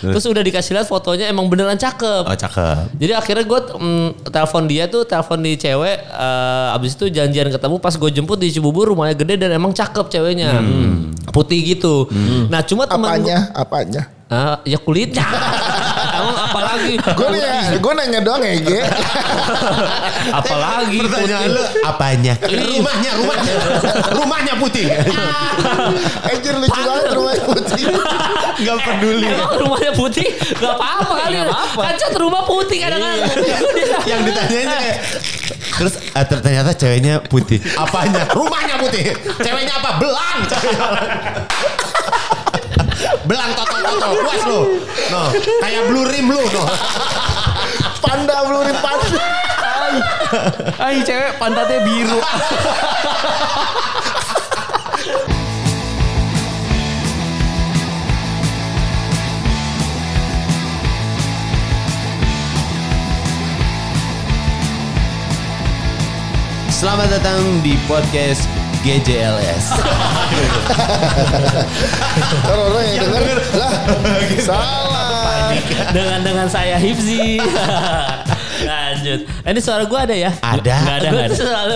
Terus Ah. udah dikasih lihat fotonya emang beneran cakep. Oh cakep. Jadi akhirnya gue telepon dia tuh, telepon di cewek. eh, abis itu janjian ketemu. Pas gue jemput di Cibubur, rumahnya gede dan emang cakep ceweknya, Hmm. putih gitu. Nah cuma teman Apanya? Apanya? Ah, ya kulitnya. Emang apalagi? Gue nanya, gue nanya doang ya, Ge. apalagi Pertanyaan putih. lu apanya? Rumahnya, rumahnya. rumahnya putih. Anjir lucu banget rumah putih. Gak peduli. Emang rumahnya putih? Gak apa-apa Iya. kali. Kan cat rumah putih kadang-kadang. Yang ditanyain tuh kayak Terus eh, ternyata ceweknya putih. Apanya? Rumahnya putih. Ceweknya apa? Belang. Ceweknya belang. Belang toto toto puas lu. No. Kayak blue rim lu no. Panda belurin panda. Ay, cewek pantatnya biru. Selamat datang di podcast GJLS. Kalau orang yang denger Gitu. lah salah. dengan dengan saya Hipzi. Lanjut. Eh, Ini suara gue ada ya? Ada. Nggak ada, Gue nggak ada. tuh selalu.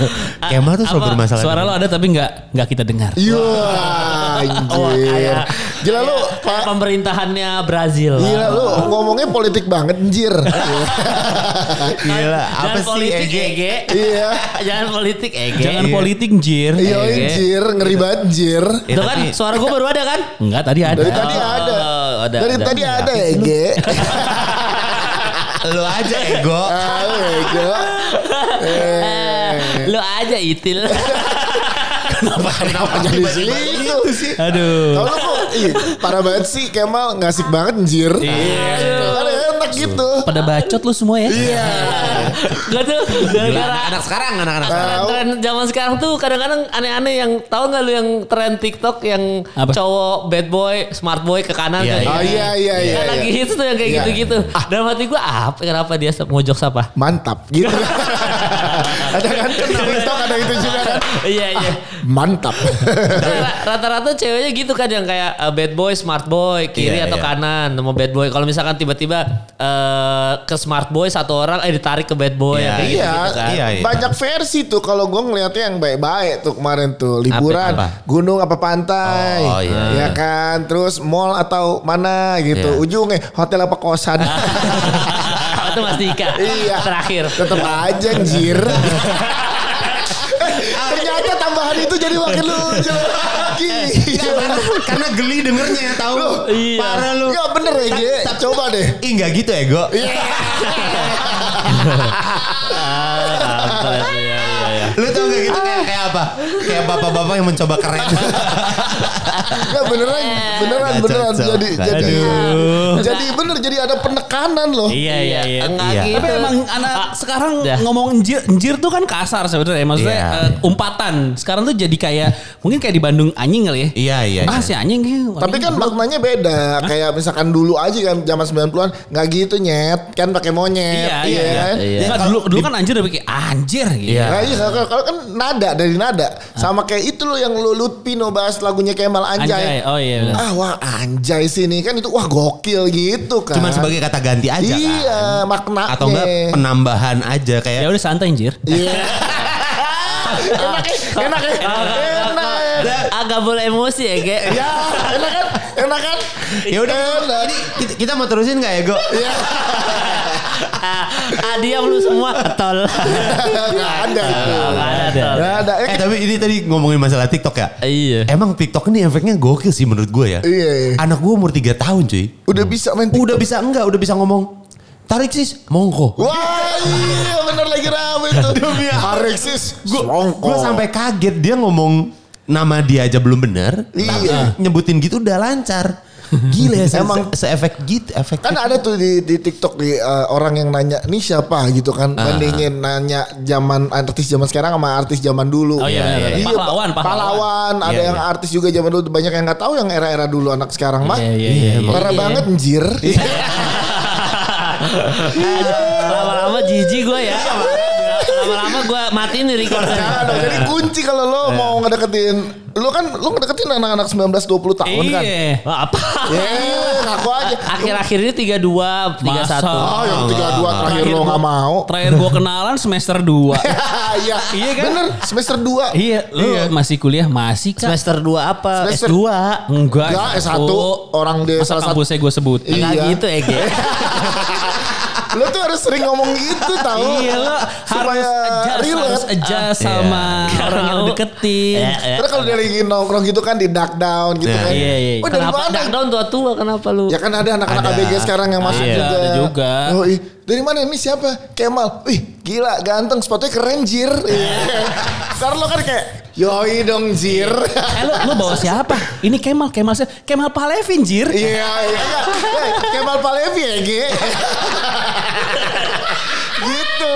Ah, Kemal tuh selalu apa? bermasalah. Suara lo ada tapi nggak nggak kita dengar. Iya, Wah, anjir. Oh, kayak- Gila lu, kayak- kayak Pak. pemerintahannya Brazil. Gila lu ngomongnya politik banget anjir. Gila, Jangan apa sih politik, Ege? Ege. Iya. Jangan politik, Ege. Jangan Iya. politik jir. Iya anjir, ngeri banget anjir. Eh, Itu kan tapi- suara gue baru ada kan? Enggak tadi ada. Dari tadi ada. Oh, ada, Dari ada. tadi ada ya, Ge. Lu aja ego. Ah, lu ya, Ge. Eh, Lu aja itil. Kenapa kenapa Jadi gitu selidu. Aduh. Kalau lu kok ih, parah banget sih Kemal ngasik banget anjir. Iya. enak gitu. Pada bacot lo semua ya. Iya. Gak tuh gara-gara Anak-anak sekarang, anak-anak sekarang. Tahu. tren zaman sekarang tuh kadang-kadang aneh-aneh yang tahu nggak lu yang tren TikTok yang Apa? cowok bad boy, smart boy ke kanan Iya, ke iya. Oh kiri. iya iya iya. Kan lagi iya. hits tuh yang kayak Iya. gitu-gitu. Dalam hati gue apa kenapa dia sep- ngojok siapa? Mantap gitu. ada kan kan di TikTok ada gitu juga kan. Iya iya. Mantap. Ra- Rata-rata ceweknya gitu kan yang kayak uh, bad boy, smart boy, kiri Iya, atau iya. kanan sama bad boy. Kalau misalkan tiba-tiba eh, ke smart boy satu orang eh ditarik ke bad boy Iya, yang kayak Iya, gitu-gitu kan. Iya, iya. banyak versi tuh kalau gue ngeliatnya yang baik-baik tuh kemarin tuh liburan Apa? gunung apa pantai, Oh, iya. ya kan, terus mall atau mana gitu, Iya. ujungnya hotel apa kosan, Itu Mas Dika. iya, Terakhir. tetep aja anjir. Ternyata tambahan itu jadi makin lucu lagi. Karena geli dengernya tahu. Lu, iya. Parah lu. Ya bener ya, Ge. coba deh. Ih enggak gitu ego. Ah, Kampret, iya, iya, iya. Lu tau gak gitu kayak kayak apa? Kayak bapak-bapak yang mencoba keren. Ya beneran, beneran, Nggak beneran. cocok. Jadi, Nggak jadi, cocok. jadi bener. Jadi ada penekanan loh. Iya iya iya. Enggak Iya. gitu. Tapi emang anak sekarang dah. ngomong enjir, enjir tuh kan kasar sebenarnya. Maksudnya Iya. eh, umpatan. Sekarang tuh jadi kayak mungkin kayak di Bandung anjing kali ya. Iya iya. Ah si anjing kayak- Tapi kan maknanya beda. Kayak misalkan dulu aja kan zaman 90-an nggak gitu nyet, kan pakai monyet. Iya iya. iya. kan? Iya. Enggak, dulu dulu kan anjir udah kayak anjir gitu. Iya. Nah, iya, kalau, kalau kan nada dari nada sama kayak itu loh yang lu Lutpino bahas lagunya Kemal Anjay. Anjay. Oh iya. benar. Nah. Ah wah anjay sini kan itu wah gokil gitu kan. Cuman sebagai kata ganti aja kan. Iya, maknanya. Atau enggak penambahan aja kayak Ya udah santai anjir. Iya. enak, ya, enak, ya. Ah. enak. Agak boleh emosi ya, Ge. Iya. Ya, enak kan? Enak kan? ya udah Enak. ini kita, kita mau terusin nggak ya, ego Ah, ah, diam lu semua tol. Nggak ada itu. Enggak ada tol. Nggak ada. Eh, eh tapi ini tadi ngomongin masalah TikTok ya Iya. emang TikTok ini efeknya gokil sih menurut gue ya Iya, iya. anak gue umur 3 tahun cuy Udah bisa main TikTok. udah bisa enggak udah bisa ngomong tarik sis mongko Wah iya bener lagi rame itu. Demi Alexis. gue sampai kaget dia ngomong nama dia aja belum bener tapi Iya. nyebutin gitu udah lancar gila ya se- Emang- se- seefek gitu efek kan ada tuh di, di TikTok di eh, orang yang nanya nih siapa gitu kan Ah. bandingin nanya zaman artis zaman sekarang sama artis zaman dulu. Oh, iya, iya, iya. Pak. Pahlawan, pahlawan, pahlawan. ada Iya, yang artis juga zaman dulu banyak yang nggak tahu yang era-era dulu anak sekarang mah. Iya, iya, iya, iya. Parah Iya. banget anjir. Lama-lama jijik gue ya. Lama-lama gue matiin nih Jangan recorder. dong, Nah, jadi kunci kalau lo Iya. mau ngedeketin lo kan lo ngedeketin anak-anak 19 20 tahun kan. Iya. Wah, apa? Yes, ngaku aja. Akhir-akhir ini 32, 31. Masa? Oh, yang tiga dua terakhir lo nggak mau. Terakhir gua kenalan kan semester 2. Iya, Iya kan? Bener, semester 2. iya, lu masih kuliah masih kan? Semester 2 apa? Semester- S2. Enggak, Enggak, S1. Orang di Eh, Masa salah satu- kampusnya gue sebut. Enggak Iya. gitu Ege. Lo tuh harus sering ngomong gitu tahu. Iya lo harus Supaya adjust, relate. harus Iya. adjust sama orang yang deketin. Ya, ya. Karena kalau dia lagi nongkrong gitu kan di duck down gitu kan. Iya, iya, iya. Oh, dari Kenapa mana? Darkdown tua-tua kenapa lu? Ya kan ada anak-anak Ada. ABG sekarang yang masuk Iya, Ada, juga. ada juga. Oh, ih. Dari mana ini siapa? Kemal. Wih, gila ganteng, sepatunya keren jir. Iya. Ntar lo kan kayak, yoi dong jir. Eh lu, lu bawa siapa? Ini Kemal, Kemal siapa? Kemal Palevin jir. Iya, iya. kan? Hey, Kemal Palevi ya, Ge. gitu.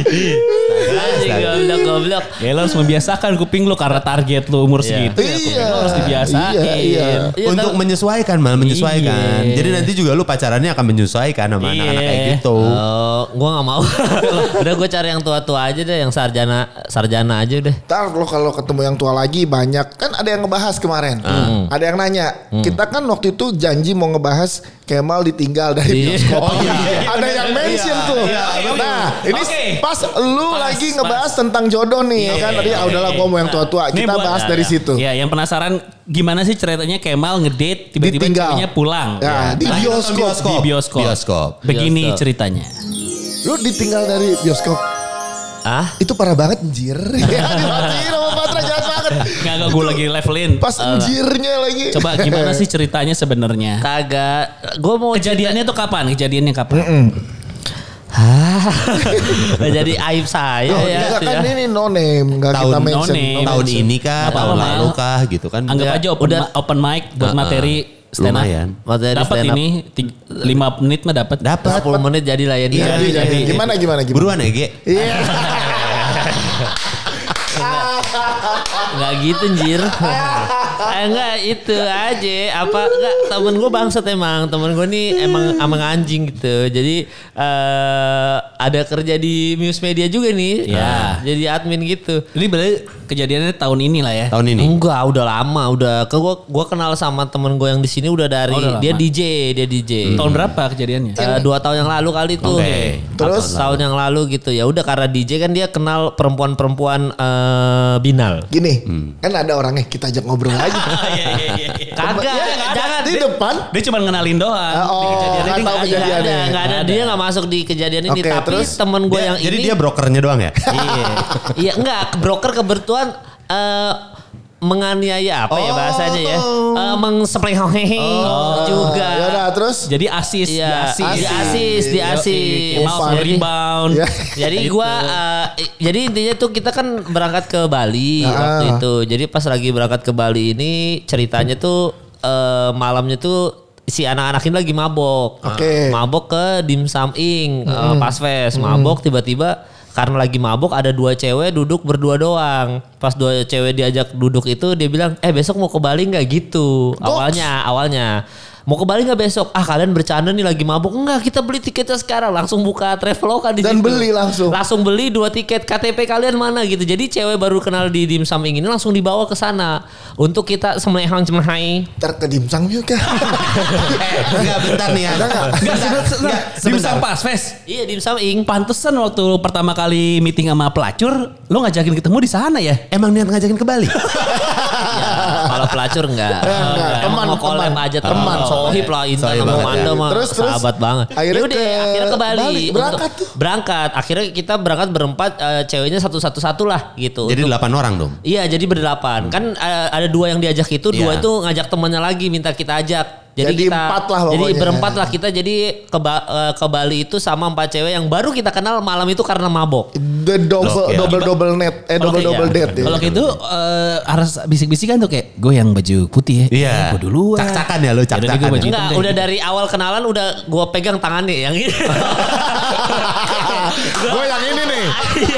Anjing, Goblok-goblok. Ya lo harus membiasakan kuping lu karena target lu umur segitu. ya, kuping Iya. Lu harus dibiasain. Iya, iya. Iya, Untuk tapi- menyesuaikan mal menyesuaikan. Iya. Jadi nanti juga lu pacarannya akan menyesuaikan sama anak-anak kayak gitu. Eh, Iya. gua nggak mau. Udah gue cari yang tua-tua aja deh, yang sarjana sarjana aja deh. Ntar lo kalau ketemu yang tua lagi banyak. Kan ada yang ngebahas kemarin. Hmm. Ada yang nanya. Kita kan waktu itu janji mau ngebahas Kemal ditinggal dari Iya. bioskop. Oh, iya. ada yang mention tuh. nah, ini Iya, Oke. pas lu Pas, lagi pas. Iya, ngebahas tentang jodoh nih. kan tadi ah, udahlah gua mau yang tua-tua. Nih Kita buat- bahas ya, dari ya. situ. Ya, yang penasaran gimana sih ceritanya Kemal ngedate tiba-tiba Ditinggal. ceweknya pulang. Ya, di Nah, bioskop. Di bioskop. kan Bioskop. Begini Bioskop. ceritanya. Lu ditinggal dari bioskop. Ah, Itu parah banget anjir. Ya, dimatiin sama Patra jahat banget. Enggak enggak gue lagi levelin. Pas anjirnya lagi. Coba gimana sih ceritanya sebenarnya? kagak. Gue mau Kejadiannya tuh kapan? Kejadiannya kapan? Hah. jadi aib saya Oh, ya. enggak, itu kan ya. ini no name, enggak Tahun kita no mention. name. Tahun ini kah, Nggak tahun apa-apa, lalu Mal. kah gitu kan. Anggap Ya, aja open, udah. ma- open mic buat Heeh. materi stand up. Lumayan. Materi dapat stand up. ini 5 menit mah dapat. Dapat. 10 menit jadilah ya dia. Jadi, jadi, jadi. gimana gimana gimana? Buruan Ege. Iya. Enggak gitu anjir. Eh, enggak itu aja apa enggak temen gue bangsat emang temen gue nih emang emang anjing gitu jadi eh ada kerja di Muse Media juga nih Ya. Nah, jadi admin gitu Ini berarti kejadiannya tahun ini lah ya. Tahun ini. Enggak, udah lama, udah ke gua gua kenal sama temen gue yang di sini udah dari Oh, udah lama. Hmm. dia DJ, dia DJ. Tahun berapa kejadiannya? Eh, Ya. dua tahun yang lalu kali tuh. Oke. Terus tahun yang lalu gitu. Ya udah karena DJ kan dia kenal perempuan-perempuan eh, binal. Gini, kan ada orangnya kita ajak ngobrol aja. Iya iya iya. Kagak, Iya, nggak ada. jangan. di Dia- depan. Dia cuma ngenalin doang. Oh, Kejadiannya nggak tahu dia nggak ada. Nggak ada, nggak kejadiannya. ada. Nggak ada. Dia nggak masuk di kejadian ini. Oke, tapi terus? temen gue Dia- yang jadi ini. dia brokernya doang ya? Iya. Iya enggak, broker kebetulan eh menganiaya apa ya bahasanya ya? Eh mengseplehohe juga. Ya udah terus. Jadi asis, Iya, di asis, di asis, di asis. Mau Jadi- rebound. Iya. Jadi gua eh, i- jadi intinya tuh kita kan berangkat ke Bali Ah. waktu itu. Jadi pas lagi berangkat ke Bali ini ceritanya tuh eh, malamnya tuh si anak-anak ini lagi mabok. Eh, Oke. Mabok ke dimsum ing eh, pas fest, mabok tiba-tiba karena lagi mabok ada dua cewek duduk berdua doang. Pas dua cewek diajak duduk itu dia bilang, "Eh, besok mau ke Bali nggak gitu?" Awalnya, awalnya Mau ke Bali nggak besok? Ah kalian bercanda nih lagi mabuk. Enggak kita beli tiketnya sekarang. Langsung buka Traveloka di Dan situ. beli langsung. Langsung beli dua tiket KTP kalian mana gitu. Jadi cewek baru kenal di dimsum ini langsung dibawa ke sana untuk kita semlehang cemlehai. Ntar ke dimsum yuk kan. Enggak bentar nih. Ada enggak? Enggak, sebentar. Dimsum pas, Fes. Iya dimsum ing. Pantesan waktu lu pertama kali meeting sama pelacur, lo ngajakin ketemu di sana ya? Emang niat ngajakin ke Bali? Kalau pelacur enggak. Eh, enggak. Emang Teman, mau collab teman. aja Teman, teman. Sohib lah Intan Sohib sama banget, Manda ya. mah Terus, terus. sahabat banget. Akhirnya Yaudah, ke akhirnya ke Bali. Bali, Untuk- berangkat tuh. Berangkat. Akhirnya kita berangkat berempat eh, ceweknya satu-satu-satu lah gitu. Jadi delapan orang dong. Iya jadi berdelapan kan eh, ada dua yang diajak itu dua Iya. itu ngajak temannya lagi minta kita ajak jadi, Jadi kita empat lah jadi pokoknya. berempat lah kita jadi ke Ba- eh, ke Bali itu sama empat cewek yang baru kita kenal malam itu karena mabok The double Oke. double double net eh double double iya. date. ya. Kalau kayak gitu eh, harus bisik-bisikan tuh kayak gue yang baju putih ya. Iya. Eh, Gue duluan. Cak-cakan ya lo, cak-cakan Yaudah deh, gua baju ya. hitam enggak deh. udah dari awal kenalan udah gua pegang tangannya yang ini Gue yang ini nih.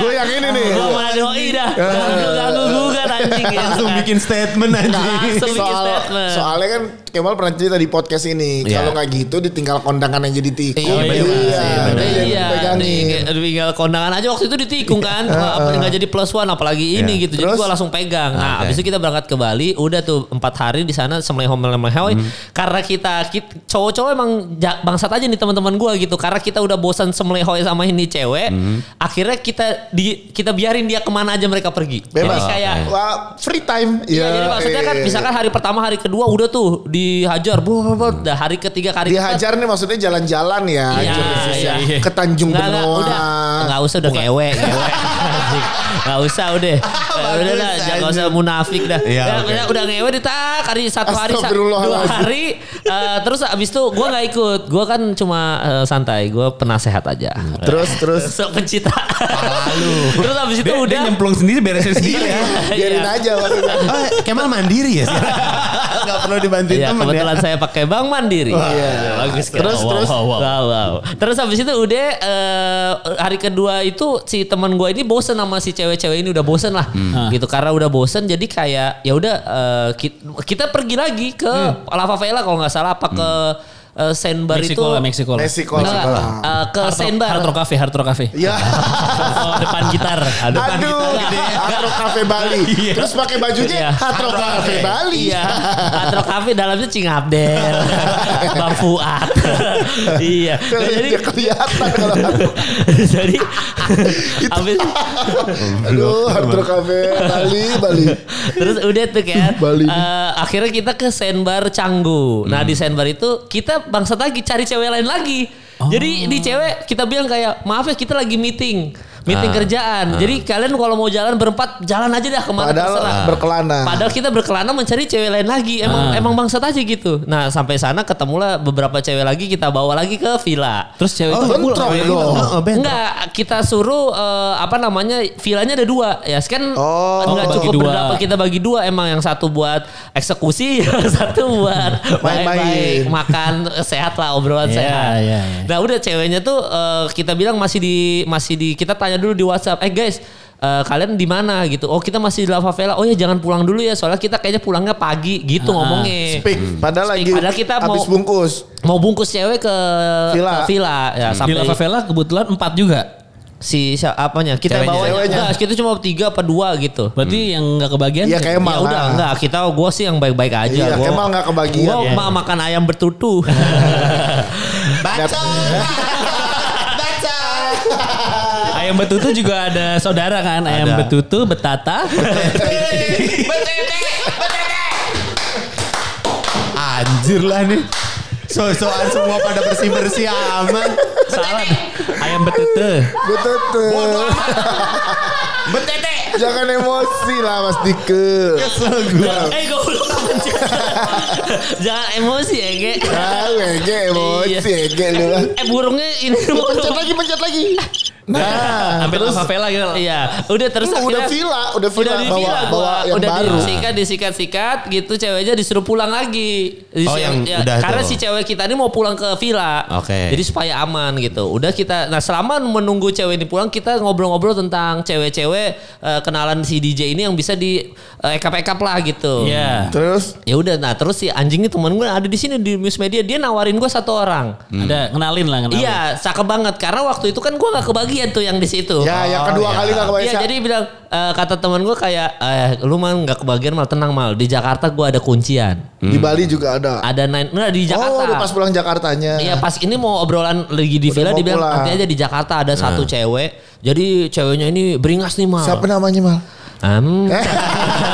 Gue yang ini nih. Eh. gua malah doi dah ganggu ganggu gugat anjing ya. Langsung bikin statement anjing. Langsung bikin Soal, statement. soalnya kan Kemal pernah cerita di podcast ini Iya. kalau nggak gitu ditinggal kondangan yang jadi tikus Iya, iya, bener sih, iya, bener. iya, Iya. dibilangin. tinggal kondangan aja waktu itu ditikung kan Apa, nggak jadi plus one apalagi ini gitu jadi Terus? gue langsung pegang nah Oke. abis itu kita berangkat ke Bali udah tuh empat hari di sana semelehoy melehoy karena kita, kita- cowok-cowok emang ja- bangsat aja nih teman-teman gue gitu karena kita udah bosan semelehoy sama ini cewek akhirnya kita di kita biarin dia kemana aja mereka pergi jadi Bebas. kayak Wah, free time. Iya, jadi maksudnya kan iya, iya. misalkan hari pertama, hari kedua udah tuh dihajar, bro, bro, bro. Dah hari ketiga, hari keempat, dihajar nih maksudnya jalan-jalan ya, Iya, Jurnalis iya, ya. iya. ke Tanjung Nggak, nggak, Benoa. udah. Nggak usah udah ngewe, ngewe. Anjing. Nggak usah udah. Eh, udah lah, Bagus, jangan usah munafik dah. Iya, Udah, oke. udah, udah ngewe deh tak hari satu hari sa- dua Astagfirullahaladzim. hari eh, terus abis itu gue nggak ikut. Gue kan cuma eh, santai, gue penasehat aja. Terus terus Sok pencita. terus abis itu Dia, dia udah nyemplung sendiri beresin sendiri ya. biarin Iya. aja maksudnya. Oh, Kemal mandiri ya sekarang. Nggak perlu dibantuin Iya temen ya. kebetulan saya pakai Bank Mandiri. Iya. Bagus kan. Terus, terus. Wow, wow. Terus habis itu udah eh, hari kedua itu si teman gue ini bosen sama si cewek-cewek ini udah bosen lah. Hmm. Gitu karena udah bosen jadi kayak ya udah eh, ki- kita, pergi lagi ke La Favela kalau nggak salah apa ke eh, Sandbar Hmm. Meksiko itu. lah, Meksiko lah. Meksiko. Enggak, enggak. Eh, ke Hard Rock- Sandbar. Iya. Hard Rock Cafe, Hard Rock Cafe. Ya. Oh, depan gitar. Aduh. Aduh, Hard Rock Cafe Bali. Terus pakai Iya. bajunya Hard Rock Cafe Bali. Iya, Hard Rock Cafe dalamnya Cing Abdel, Bang Fuad. iya. Nah, Jadi jadi kelihatan kalau Hard Rock. jadi habis Aduh, Hard Rock Cafe Bali, Bali. terus udah tuh kan Bali. eh, akhirnya kita ke sandbar Canggu nah Hmm. di sandbar itu kita bangsat lagi cari cewek lain lagi Oh. jadi di cewek kita bilang kayak maaf ya kita lagi meeting meeting Ah. kerjaan jadi kalian kalau mau jalan berempat jalan aja dah kemana Padahal berkelana. Ah. padahal kita berkelana mencari cewek lain lagi emang emang bangsat aja gitu nah sampai sana ketemulah beberapa cewek lagi kita bawa lagi ke villa Terus cewek itu Oh, bentrok Oh, iya. dong. Enggak, kita suruh eh, apa namanya villanya ada dua ya kan Oh. enggak Bagi cukup dua. berapa kita bagi dua emang yang satu buat eksekusi yang satu buat Main-main. baik-baik makan eh, sehat lah obrolan Iya, sehat. iya, iya. Nah udah ceweknya tuh eh, kita bilang masih di masih di kita tanya dulu di WhatsApp eh guys eh, kalian di mana gitu oh kita masih di La Favela oh ya jangan pulang dulu ya soalnya kita kayaknya pulangnya pagi Ah, gitu ngomongnya Pik, padahal Speak. lagi Padahal kita mau- habis bungkus. mau bungkus cewek ke Villa. ke villa ya di sampai La Favela kebetulan empat juga. si si- apanya kita Ceweknya. bawa Ceweknya. enggak kita cuma tiga apa dua gitu Berarti yang nggak kebagian. Iya kayak ya udah malah. enggak kita gue sih yang baik-baik aja Iya, Gua- Kemal nggak kebagian. gua Iya. ma- makan ayam bertutu Bacot. Bacot. Ayam betutu juga ada saudara kan. Ayam Ada. betutu, betata. Anjir lah nih. So-soan semua pada bersih-bersih aman. Salah. Ayam betutu. Betul tuh. Betete. Jangan emosi lah Mas Dike. eh gue jangan emosi ya ge Ah, Ege emosi, Iya. Ege lu lah. eh burungnya ini Pencet lagi, pencet lagi. Nah, Sampai La Favela gitu. iya udah terus akhirnya- udah villa, udah villa udah di bawa villa bawa gua yang udah baru. disikat disikat sikat gitu ceweknya disuruh pulang lagi Disuruh- ya, Oh, yang udah karena tuh. si cewek kita ini mau pulang ke villa Oke. jadi supaya aman gitu udah kita nah selama menunggu cewek ini pulang kita ngobrol-ngobrol tentang cewek-cewek eh, kenalan si DJ ini yang bisa di eh, ekap-ekap lah gitu Iya. Terus ya udah nah terus si anjingnya temen gue ada di sini di Muse Media dia nawarin gue satu orang Ada kenalin lah kenalin. Iya, cakep banget karena waktu itu kan gue nggak kebagian tuh yang di situ. ya yang kedua kali nggak kebaca. Iya jadi bilang eh, kata teman gue kayak eh, lu mah nggak kebagian mal tenang mal di Jakarta gue ada kuncian Di Bali juga ada. ada nine nah, di Jakarta. Oh, udah pas pulang Jakartanya. Iya pas ini mau obrolan lagi di villa Udah Nah. mau dibilang pulang. nanti aja di Jakarta ada satu cewek jadi ceweknya ini beringas nih mal. Siapa Eh. namanya, Mal? Hmm.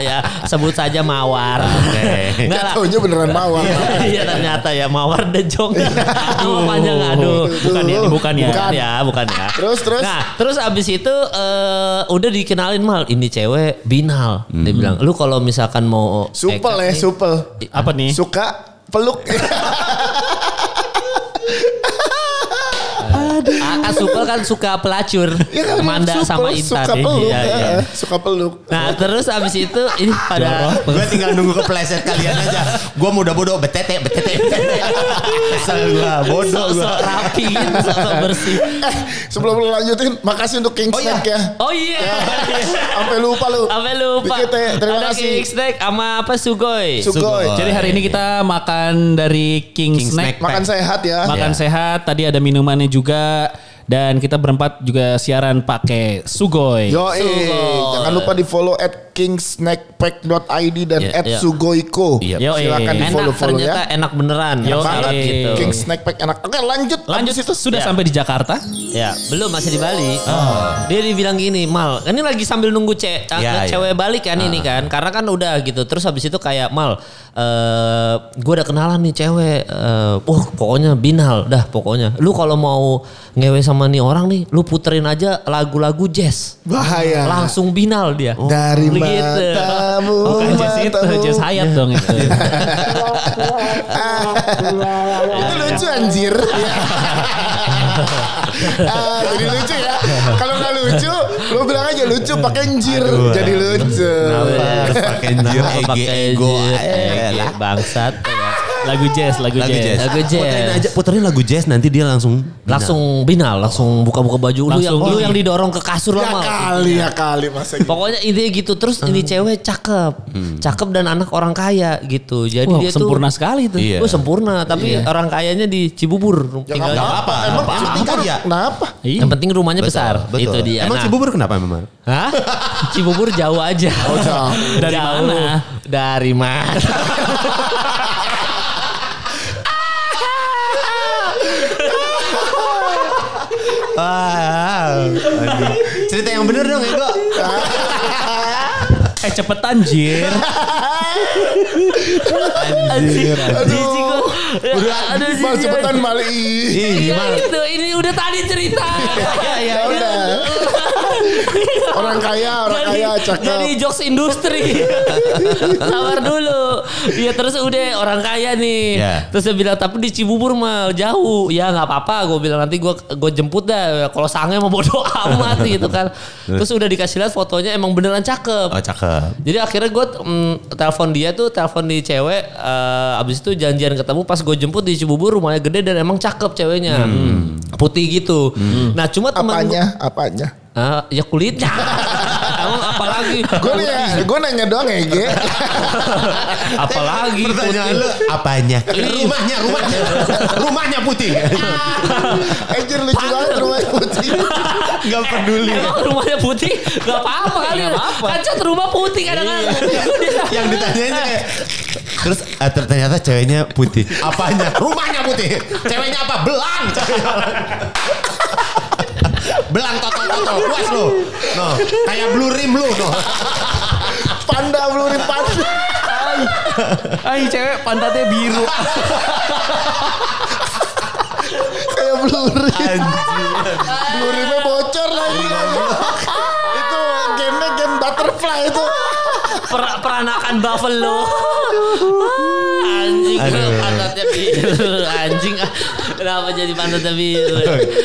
ya sebut saja Mawar. Oke. Enggak lah. Taunya beneran mawar. Iya ternyata ya Mawar Dejong. Iya. Nama panjang aduh. Bukan ya, bukan ya. Bukan ya, bukan ya. Terus, terus? Nah, terus abis itu eh, udah dikenalin mal ini cewek binal. Dia bilang, "Lu kalau misalkan mau Hmm. make up Supel ya, nih, supel. Apa Iya. nih? Suka peluk. ah, kan supel kan suka pelacur. Ya Iya, kan, Manda suka- sama Intan. Suka peluk. Iya, eh, iya. eh, Suka peluk. Nah terus abis itu ini pada Gue tinggal nunggu kepleset kalian aja. Gue mudah bodoh betete betete. betete. Kesel gue bodoh gue. sok-sok rapi gitu, sok-sok bersih. Eh, sebelum lu lanjutin, makasih untuk King Oh, iya. Snack ya. Oh iya. Sampai lupa lu. Sampai lupa. Dikit ya, terima Ada kasih. King Snack sama apa Sugoi. Sugoi. Sugoi. Jadi hari ini kita makan dari King, King Snack. Snack. Makan sehat ya. Makan sehat, tadi ada minumannya juga dan kita berempat juga siaran pakai Sugoi. Yo, eh, Sugoi. jangan lupa di follow at kingsnackpack.id dan Iya, at iya. sugoiko. Iya. Yo, eh. Silakan Kan di Enak follow-follow ternyata ya. enak beneran. Yo, enak banget eh. gitu. King Snack Pack enak. Oke lanjut. Lanjut Abis itu sudah Ya. sampai di Jakarta. Ya, belum masih di Bali. Oh. Oh. Dia dibilang gini, "Mal, ini lagi sambil nunggu ce Iya, Ya, cewek balik kan ini kan. Ah. Karena kan udah gitu. Terus habis itu kayak, "Mal, eh gua udah kenalan nih cewek. Eh, wah, pokoknya binal dah pokoknya. Lu kalau mau ngewe sama nih orang nih, lu puterin aja lagu-lagu jazz." bahaya. Langsung binal dia. Nah. Gitu. kan Dari Begitu. matamu, Oh, Jazz itu, matamu. Jazz Hayat dong itu. Ah. Itu lucu anjir. ah, jadi lucu ya. Kalau nggak lucu, lu bilang aja lucu pakai anjir. Jadi lucu. Harus pakai jir ege Pakai ego. jazz, eh, ege, lah. iya, bangsat. Lagu jazz, lagu, Lagu jazz. jazz. Lagu Puterin jazz. aja puterin lagu jazz nanti dia langsung Langsung binal, langsung buka-buka baju lu yang Langsung lu ini. yang didorong ke kasur Ya lama. kan? kali, ya kali masa gitu. Pokoknya intinya gitu terus ini Hmm. cewek cakep, cakep dan anak orang kaya gitu. Jadi Wah, dia sempurna tuh sekali itu. Iya. kan? Wah, sempurna, tapi orang kayanya di Cibubur. Ya, nggak tinggalnya. apa-apa. Emang Apa-apa. penting kan Iya. ya? Kenapa? Iya. Yang penting rumahnya Betul, besar, betul. itu dia. Emang Nah, Cibubur kenapa memang? Hah? Cibubur jauh aja. Oh, jauh. Dari mana? Dari mana? Ah, aduh. cerita yang bener dong Ego. Eh cepetan jir. Anjir. Jijik gua. Udah, Aduh, jijik Mal, gua. cepetan Mali. Ih, Ya gimana? itu, ini udah tadi cerita. ya, ya, Ya udah. Orang kaya, orang Jadi- kaya, cakep. Jadi jokes industri. Sabar dulu. Iya terus udah orang kaya nih. Ya. Terus dia bilang tapi di Cibubur mal jauh. Ya nggak apa-apa. Gue bilang nanti gue gue jemput dah. Kalau sange mau bodo amat gitu kan. Terus udah dikasih lihat fotonya emang beneran cakep. Oh cakep. Jadi akhirnya gue telepon dia tuh telepon di cewek eh, abis itu janjian ketemu pas gue jemput di Cibubur rumahnya gede dan emang cakep ceweknya Hmm. putih gitu. Nah cuma teman Apanya? Apanya? Ah, ya kulitnya. Emang apalagi? Gue nanya, gue nanya doang ya, Ge. apalagi Pertanyaan putih. lu apanya? Rumahnya, rumahnya. rumahnya putih. Anjir lucu banget rumahnya putih. Gak peduli. Emang rumahnya putih? Gak apa-apa kali. Kan cat rumah putih kadang-kadang. yang ditanyain tuh kayak terus eh, ter- ternyata ceweknya putih. Apanya? Rumahnya putih. Ceweknya apa? Belang. Ceweknya belang. Belang total total puas lu. No, kayak blue rim lu no. Panda melurin panda. Ay cewek pantatnya biru. Kayak melurin. Lurimnya bocor lagi. itu gamenya game butterfly itu. Per- peranakan buffalo. Anjing Aduh. pantatnya biru. Anjing kenapa jadi pantatnya biru?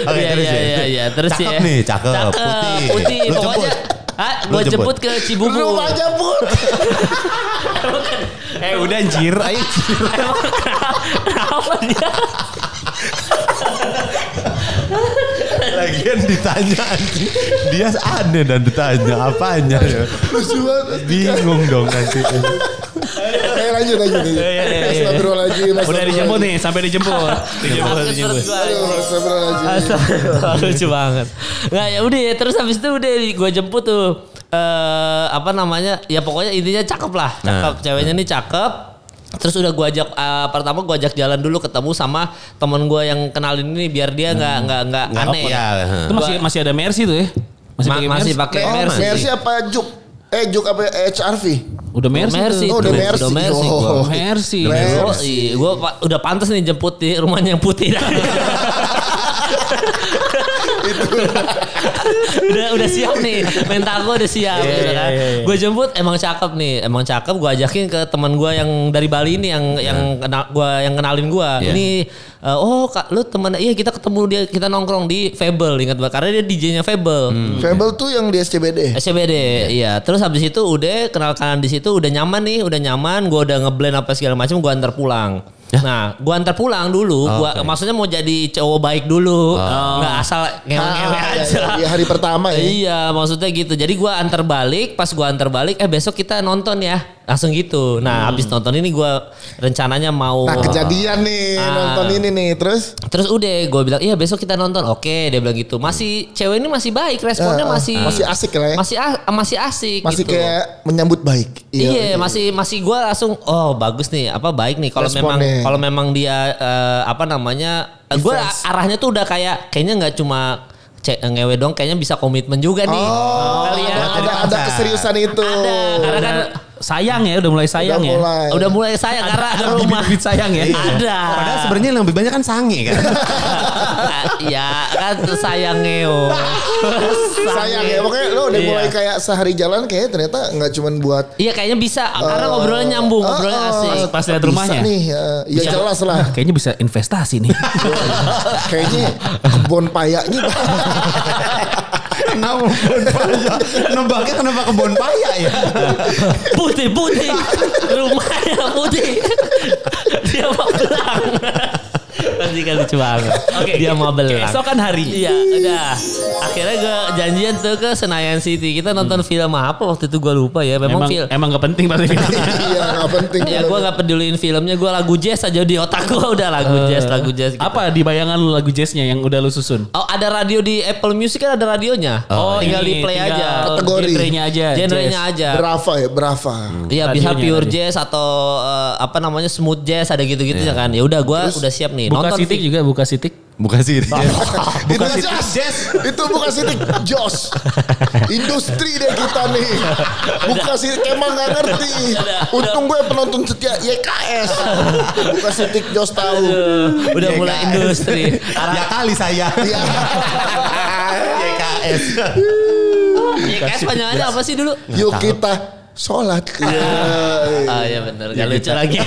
Oke, Iya, terus iya, ya. iya, iya. Terus Cakep ya. nih, cakep, Putih. putih. Putih. Lu Pokoknya jemput. Ah, Lu gue jemput jemput. ke Cibubur. Rumahnya putih. eh udah jir. Ayo jir. Kenapa dia? Lagian ditanya anjing. Dia aneh dan ditanya apanya ya. Lucu banget. Bingung dong nanti. Eh lanjut lanjut. lanjut. Iya, iya, iya. Astagfirullahaladzim. Udah dijemput nih, sampai dijemput. Iya, dijemput, dijemput. Aduh, astagfirullahaladzim. Astagfirullah lucu banget. Nah ya udah ya, terus habis itu udah gue jemput tuh eh apa namanya ya pokoknya intinya cakep lah cakep ceweknya nih cakep terus udah gue ajak eh, pertama gue ajak jalan dulu ketemu sama temen gue yang kenalin ini biar dia nggak nggak nggak Nggak aneh awkward. ya Itu masih masih ada Mercy tuh ya. Masih Ma- pakai ya? masih Mercy. pakai Oh, mercy, Mercy apa Juk? Eh Juk apa HRV? Udah Mercy. Mercy. tuh. Oh, udah Udah Mercy. Mercy Oh. Oh, Mercy. Mercy. Oh, iya, gue udah pantas nih jemput di rumahnya yang putih. itu. udah udah siap nih mental gue udah siap Iya, gitu kan iya, iya. gue jemput emang cakep nih emang cakep gue ajakin ke teman gue yang dari Bali ini yang yang kenal gue yang kenalin gue Iya. ini eh, oh kak lu teman iya kita ketemu dia kita nongkrong di Fable ingat banget karena dia DJ-nya Fable Fable tuh yang di SCBD. SCBD iya terus habis itu udah kenal kanan di situ udah nyaman nih udah nyaman gue udah ngeblend apa segala macam gue antar pulang Nah, gua antar pulang dulu. Gua Oke. maksudnya mau jadi cowok baik dulu, nggak asal ngewe Ah, aja. Di hari pertama ya. Iya maksudnya gitu. Jadi gua antar balik, pas gua antar balik, eh besok kita nonton ya, langsung gitu. Nah habis nonton ini gua rencananya mau. Nah kejadian nih Ah. nonton ini nih terus Terus udah gua bilang iya besok kita nonton. Oke dia bilang gitu. Masih cewek ini masih baik, responnya Ah, ah. masih Masih asik lah ya. masih a- masih asik. masih gitu. kayak menyambut baik. Iya, masih masih gue langsung oh bagus nih apa baik nih kalau memang Responnya. kalau memang dia eh, apa namanya gue Defense. arahnya tuh udah kayak kayaknya nggak cuma cek ngewe dong kayaknya bisa komitmen juga nih Oh, Kali ya. ada, ada, ada keseriusan itu. ada karena kan sayang ya udah mulai sayang Udah ya. mulai. udah mulai Iya. sayang karena ada rumah bibit-bibit sayang ya. ada Padahal sebenarnya yang lebih banyak kan sange kan. ya kan sayang ngeo sayang ya pokoknya lo udah Iya. mulai kayak sehari jalan kayaknya ternyata nggak cuman buat iya kayaknya bisa karena ngobrolnya nyambung ngobrolnya Oh, asik Pas lihat bisa rumahnya. nih eh, ya Bisa. jelas lah Kayaknya bisa investasi nih. kayaknya kebun payaknya Kenapa kebon paya? Nebaknya kenapa kebon paya ya? putih putih rumahnya putih dia mau belang pasti kan lucu banget oke dia mau belang Keesokan hari. iya udah akhirnya gue janjian tuh ke Senayan City kita nonton film apa waktu itu gue lupa ya memang, Hmm. Emang film emang gak penting pasti filmnya. iya nggak penting ya gue gak peduliin filmnya gue lagu jazz aja di otak gue udah lagu jazz lagu jazz gitu. Eh, Apa di bayangan lu lagu jazznya yang udah lu susun? Oh ada radio di Apple Music kan ada radionya. Oh, tinggal di ini, play tinggal aja. Kategori. Genre-nya aja. Genrenya jazz. aja. berapa ya berapa Iya bisa Radionya pure tadi. jazz atau eh, apa namanya smooth jazz ada gitu-gitu ya kan. Ya udah gua udah siap nih Iya. Buka nonton sitik fi- juga, buka sitik. Bukan sih. itu jazz itu bukan sitik jos industri deh kita nih bukan sitik emang nggak ngerti untung gue penonton setia YKS bukan sitik jos tahu udah Iya mulai kan? industri. Ya kali saya. Iya. YKS. YKS panjangannya apa sih dulu? yuk kita sholat Iya. Ah ya benar gak lucu lagi.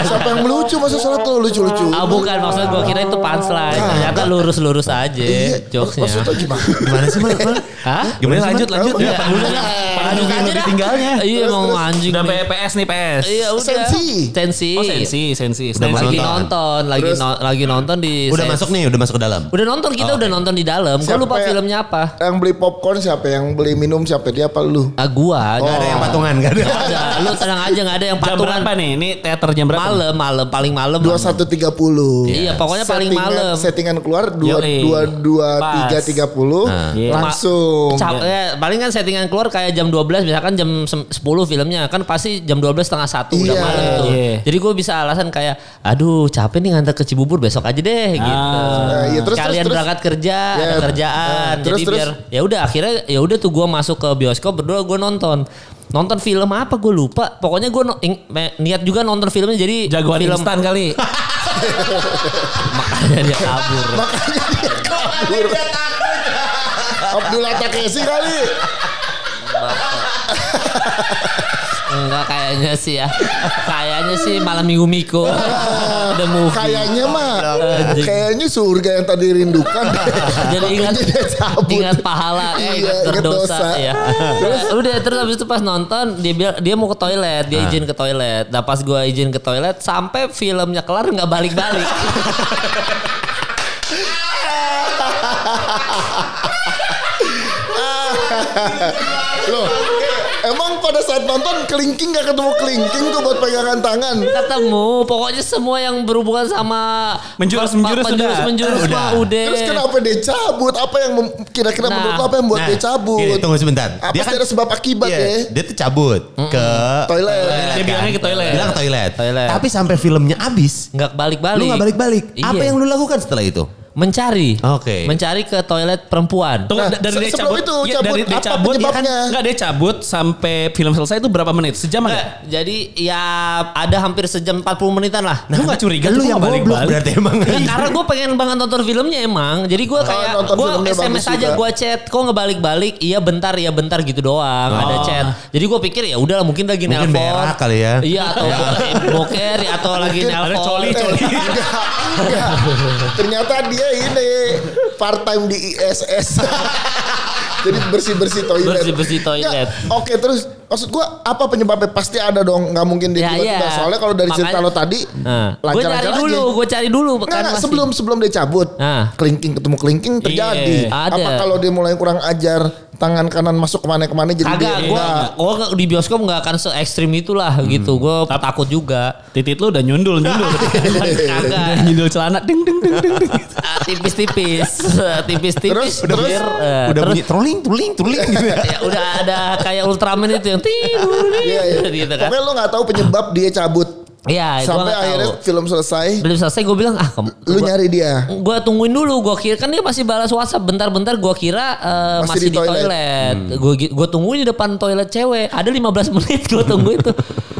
siapa yang lucu masa sholat lo lucu lucu ah bukan maksud gua kira itu punchline. Ah. Ternyata lurus-lurus aja jokesnya. Ya, maksudnya Iya, gimana Gimana sih Mal? Mal? Hah? Gimana sih, lanjut, Mal? lanjut. Iya. Ya, panjangin. Panjangin Aja dah. tinggalnya. Iya Terus, mau terus. anjing. Udah nih. PS nih PS. Iya udah. Sensi. Sensi. Oh sensi, sensi. Udah Sensi. mau Lagi nonton. nonton, lagi Terus? no- lagi nonton di Udah Sensi. masuk nih, udah masuk ke dalam. Udah nonton kita udah nonton di dalam. Gua Siapa lupa ya? filmnya apa. Yang beli popcorn siapa? Yang beli minum siapa? Dia apa lu? Ah gua Gak ada yang patungan, kan? gak ada. Ada. Lu tenang aja nggak ada yang Jam patungan. berapa nih? Ini teater jam berapa? nih? Malam, malam paling malam. 21.30. Iya, pokoknya paling Settingan- malam. Settingan keluar Yoi. 22.30 Nah. Iya. langsung. Cap, ya, paling kan settingan keluar kayak jam 12 misalkan jam sem- 10 filmnya kan pasti jam 12 setengah satu udah Iya. malam tuh. Iya. Jadi gue bisa alasan kayak aduh capek nih ngantar ke Cibubur besok aja deh gitu. Nah, iya, terus, Kalian terus, terus. berangkat kerja, Iya. ada kerjaan. Nah, terus, Jadi terus. biar ya udah akhirnya ya udah tuh gue masuk ke bioskop berdua gue nonton. Nonton film apa gue lupa. Pokoknya gue no- ing- me- niat juga nonton filmnya jadi Jagoan film instan kali. makanya dia kabur. Makanya dia kabur. Abdullah Takeshi kali. Enggak kayaknya sih ya. Kayaknya sih malam Minggu Miko. The movie. Kayaknya mah. Anjing. Kayaknya surga yang tadi rindukan. Jadi ingat Makanya dia cabut. ingat pahala eh Iya, ingat ingat berdosa dosa. ya. Udah terus habis itu pas nonton dia bilang dia mau ke toilet, Ah. dia izin ke toilet. Nah pas gua izin ke toilet sampai filmnya kelar nggak balik-balik. Loh, eh, emang pada saat nonton kelingking gak ketemu kelingking tuh buat pegangan tangan. Ketemu pokoknya semua yang berhubungan sama Menjurus- pa- menjurus menjurus sudah. menjurus Udah. mah udah. Terus kenapa dia cabut? Apa yang mem- kira-kira Eh. Nah, menurut lo apa yang buat Nah, dia cabut? gini, tunggu sebentar. Apa sih ada sebab akibat iya, ya? Dia tuh cabut ke Toilet. Dia bilangnya ke toilet. Bilang ke toilet. Toilet. Tapi sampai filmnya habis, Nggak balik-balik. lu nggak balik-balik. Apa Iya. yang lu lakukan setelah itu? mencari, Oke. mencari ke toilet perempuan. Tunggu, Nah, da- dari se- dia sebelum cabut, itu, iya, dari cabut, dia apa cabut, iya kan? penyebabnya? Enggak, dia cabut sampai film selesai itu berapa menit? Sejam Nggak, enggak? jadi ya ada hampir sejam 40 menitan lah. Nah, Lu gak curiga Lu tuh yang kok goblok balik-balik? berarti emang. Nggak, karena gue pengen banget nonton filmnya emang. Jadi gue kayak iya. Oh, nonton gue filmnya SMS bagus aja juga. gue chat, kok ngebalik-balik, iya bentar iya bentar gitu doang. Ada Oh. chat. Jadi gue pikir ya udahlah mungkin lagi Mungkin nelpon. berak kali ya. Iya atau boker ya, atau lagi Mungkin nelpon. ada coli, coli. Enggak, enggak. Ternyata dia ini part time di ISS. Jadi bersih-bersih toilet. Bersih-bersih toilet. Enggak, Oke, terus maksud gua apa penyebabnya? Pasti ada dong, nggak mungkin dia Ya, tiba-tiba. iya. Soalnya kalau dari cerita Makanya- lo tadi, Nah, gue lancar-lancar cari aja. dulu, kan gue cari dulu. Enggak, enggak, masih- sebelum sebelum dia cabut, Ah. kelingking ketemu kelingking Iya, terjadi. ada. Apa kalau dia mulai kurang ajar, tangan kanan masuk kemana-kemana jadi dia Kagak, gue enggak. Hmm. gua di bioskop nggak akan se ekstrim itulah gitu. Gue takut juga. Titit lu udah nyundul, nyundul. Udah Kagak, nyundul celana, ding ding ding ding. ding. ah, tipis-tipis, Ah, tipis-tipis. Terus, terus, Biar, eh, Udah terus bunyi truling, truling, truling gitu ya. ya udah ada kayak Ultraman itu yang tidur Iya, iya. gitu kan. Pokoknya lo nggak tahu penyebab dia cabut. Iya, gua Sampai nggak akhirnya tahu. film selesai, belum selesai gue bilang ah kem- lu gua- nyari dia. Gua tungguin dulu, gua kira kan dia masih balas WhatsApp bentar-bentar gua kira eh, Masih masih, di di toilet. Gua gi- gua tungguin di depan toilet cewek. Ada 15 menit gua tunggu itu.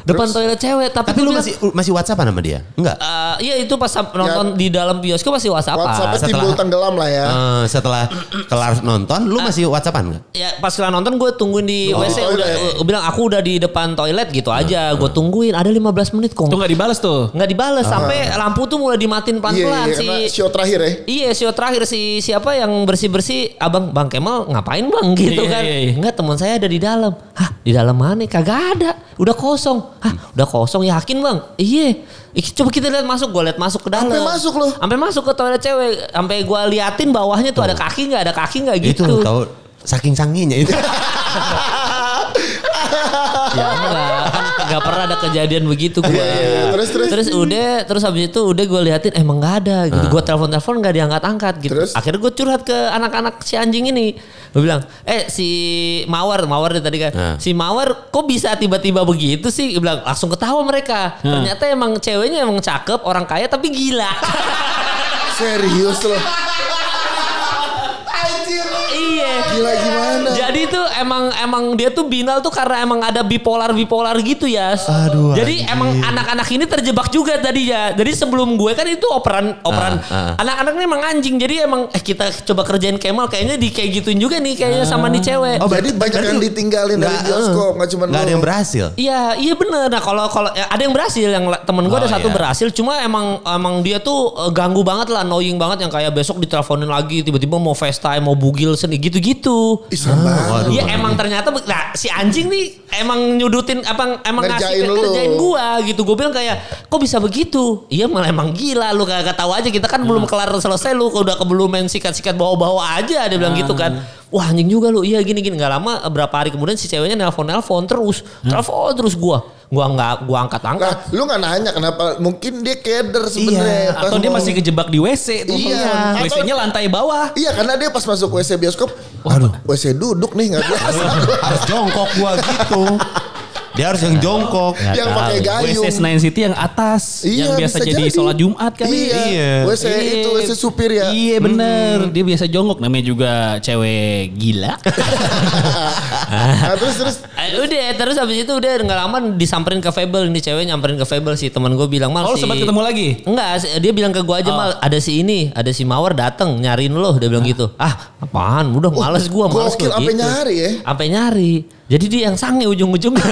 depan toilet cewek, tapi, Tapi dia lu bilang, masih masih WhatsAppan sama dia? Enggak. eh, iya itu pas Ya. sam- nonton di dalam bioskop masih WhatsApp. WhatsApp-nya setelah- timbul tenggelam lah ya. Eh, setelah kelar nonton lu masih WhatsAppan enggak? Ya pas setelah nonton gue tungguin di Nunggu Oh, WC di udah, toilet. Nah. gua bilang aku udah di depan toilet gitu aja. Gua tungguin ada 15 menit kok. Tuh gak dibales tuh. nggak dibales sampai lampu tuh mulai dimatiin Ah. Iya, pelan-pelan iya, si karena show terakhir ya. Iya, show terakhir si siapa yang bersih-bersih, Abang Bang Kemal ngapain Bang gitu Iya, kan. iya, iya. Enggak, teman saya ada di dalam. Hah, di dalam mana? Kagak ada. Udah kosong. Hah, udah kosong yakin, Bang? Iya. Ih, Coba kita lihat masuk, gue lihat masuk ke dalam. Sampai masuk loh. Sampai masuk ke toilet cewek, sampai gua liatin bawahnya tuh ada kaki nggak, ada kaki nggak gitu. Itu tahu saking sanginya itu. ya enggak kan enggak pernah ada kejadian begitu gue Iya, iya, iya. Terus, terus. udah terus habis itu udah gue liatin emang nggak ada gitu gue telepon telepon nggak diangkat angkat gitu Terus? akhirnya gue curhat ke anak-anak si anjing ini gue bilang eh si mawar mawar dia tadi kan Nah. si mawar kok bisa tiba-tiba begitu sih Dia bilang langsung ketawa mereka ternyata emang ceweknya emang cakep orang kaya tapi gila Serius loh. iya Gila gimana? Jadi itu emang emang dia tuh binal tuh karena emang ada bipolar bipolar gitu ya. Aduh, Jadi anjir. emang anak-anak ini terjebak juga tadi ya. Jadi sebelum gue kan itu operan operan Ah, ah. anak-anak ini emang anjing. Jadi emang eh kita coba kerjain Kemal kayaknya di kayak gituin juga nih Ah. kayaknya sama nih cewek. Oh, Jadi Oh, banyak yang ditinggalin dari bioskop, nggak cuma Enggak lu. eh, ada yang berhasil. Iya, iya bener. Nah kalau kalau ya, ada yang berhasil, yang la- temen gue ada Oh, satu iya. berhasil. Cuma emang emang dia tuh eh, ganggu banget lah, annoying banget yang kayak besok diteleponin lagi, tiba-tiba mau FaceTime, mau bugil seni gitu-gitu. Ih, serem banget. Waduh. Iya emang ternyata be- nah, si anjing nih emang nyudutin apa emang Ngerjain ngasih lu. kerjain gua gitu. Gue bilang kayak kok bisa begitu? Iya malah emang gila lu kagak tahu aja kita kan Nah. belum kelar selesai lu udah kebelum main sikat-sikat bawa-bawa aja dia bilang gitu kan. Nah. Wah anjing juga lu. Iya gini-gini nggak lama berapa hari kemudian si ceweknya nelpon-nelpon terus. Nah. Telepon terus gua. Gua nggak gua Nah, angkat-angkat. lu nggak nanya kenapa? Mungkin dia keder sebenarnya. Iya, Pas Atau dia mau- masih kejebak di WC tuh. Iya. telepon. WC-nya lantai bawah. Iya, karena dia pas masuk WC bioskop, waduh, WC duduk nih nggak biasa. Harus jongkok gua gitu. Dia harus yang jongkok. yang pakai gayung. Iya, WC Senayan City yang atas yang biasa bisa jadi sholat Jumat kan Iya. Iya. WC itu WC supir ya. Hmm. Iya bener Dia biasa jongkok Namanya juga cewek gila Iya. nah, terus terus Eh, udah terus habis itu udah nggak lama disamperin ke Fable ini cewek nyamperin ke Fable sih teman gue bilang mal Oh lu si- sempat ketemu lagi? Enggak, si- dia bilang ke gua aja mal ada si ini, ada si Mawar dateng nyariin lo, dia bilang gitu. Ah, apaan? Udah males gua, males gokil, gua sampai gitu. nyari ya. Sampai nyari. Jadi dia yang sange ujung-ujungnya.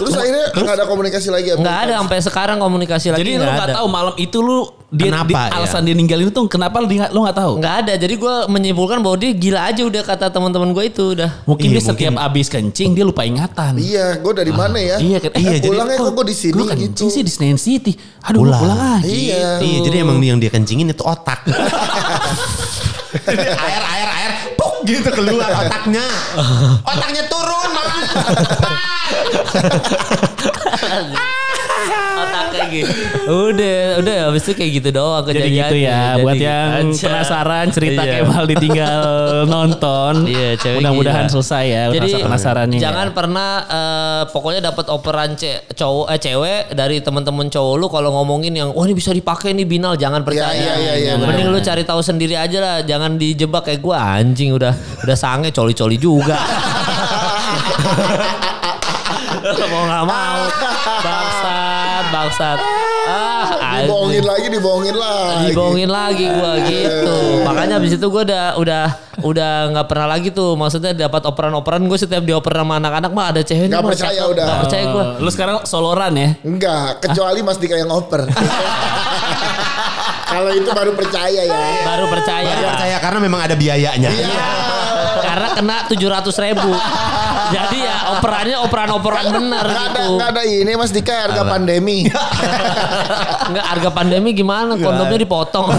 terus akhirnya nggak ada komunikasi lagi. apa? Enggak ada sampai sekarang komunikasi lagi Jadi lu nggak gak ada. tahu malam itu lu dia, Kenapa, di- ya? Alasan dia ninggalin itu Kenapa lu, di- lu gak tahu? Enggak ada. Jadi gua menyimpulkan bahwa dia gila aja udah kata teman-teman gua itu udah. Mungkin Iya, dia setiap abis kencing Dia lupa ingatan Iya, gue dari mana ya? Iya kan? Eh, Iya, jadi pulangnya kok gue di sini Lu kencing gitu. sih kan di Senayan City Aduh Pulang. pulang, pulang aja Iya. Iya, jadi emang yang dia kencingin itu otak. jadi air air air puk gitu keluar otaknya. Otaknya turun malah. Otaknya lagi. Udah, udah habis itu kayak gitu doang Jadi kejadian. gitu ya, buat yang penasaran cerita Kemal ditinggal nonton. Iya, cewek Mudah-mudahan gila. selesai ya Jadi rasa penasarannya. ya. jangan pernah eh, pokoknya dapat operan ce- cowok eh, cewek dari teman-teman cowok lu kalau ngomongin yang wah ini bisa dipakai nih binal jangan percaya. iya, iya, iya, Mending lu cari tahu sendiri aja lah, jangan dijebak kayak gua anjing udah udah sange coli-coli juga. mau nggak mau bangsat bangsat ah anjing dibohongin lagi dibohongin lagi Iya. dibohongin lagi gua gitu makanya abis itu gua udah udah udah nggak pernah lagi tuh maksudnya dapat operan-operan gue setiap dioper sama anak-anak mah ada cewek nih, Nggak mah percaya cakep. udah. nggak percaya gua Eh, Lu sekarang soloran ya? enggak kecuali Mas Dika yang oper kalau itu baru percaya ya Iya. baru percaya Baru percaya karena memang ada biayanya. iya karena kena tujuh ratus ribu jadi ya operannya operan-operan bener nggak ada gitu nggak ada ini Mas Dika harga pandemi nggak harga pandemi gimana Iya. kondomnya dipotong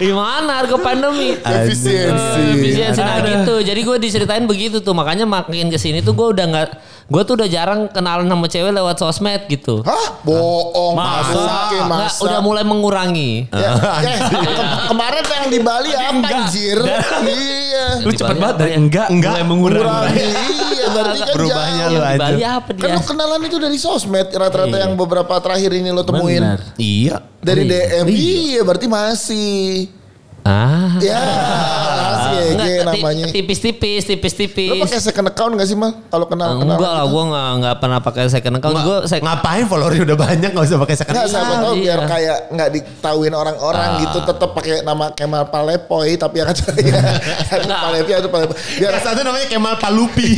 gimana harga pandemi Iya, efisiensi Bisa nah gitu. Jadi gue diceritain begitu tuh. Makanya makin kesini tuh gue udah nggak, gue tuh udah jarang kenalan sama cewek lewat sosmed gitu. hah bohong Masa? masa Nggak, masa udah mulai mengurangi. Ya, eh, ke- kemarin yang di Bali apa anjir? Iya. Lu cepet banget dari enggak enggak mulai mengurangi. Kurang. Iya, berarti kan Berubahnya jauh. lu Di aja. Bali apa Kan dia? lu kenalan itu dari sosmed rata-rata Iya. yang beberapa terakhir ini lo temuin. Benar. Iya. Dari DM. Iya. Iya, berarti masih. Ah. Ya, masih Nggak, ya, ti- namanya. tipis-tipis, Lo tipis-tipis. pakai gitu? second account gak sih, Mal? Kalau kenal kenal. Enggak lah, gue nggak nggak pernah pakai second account. Gue sek- Eh, Ngapain followernya udah banyak nggak usah pakai second Enggak, siapa Kenal, Ah. tahu iya. biar kayak nggak diketahuin orang-orang gitu tetap pakai nama Kemal Palepoy tapi yang kata Palepoy atau Palepoy. Biar Yang satu namanya Kemal Palupi.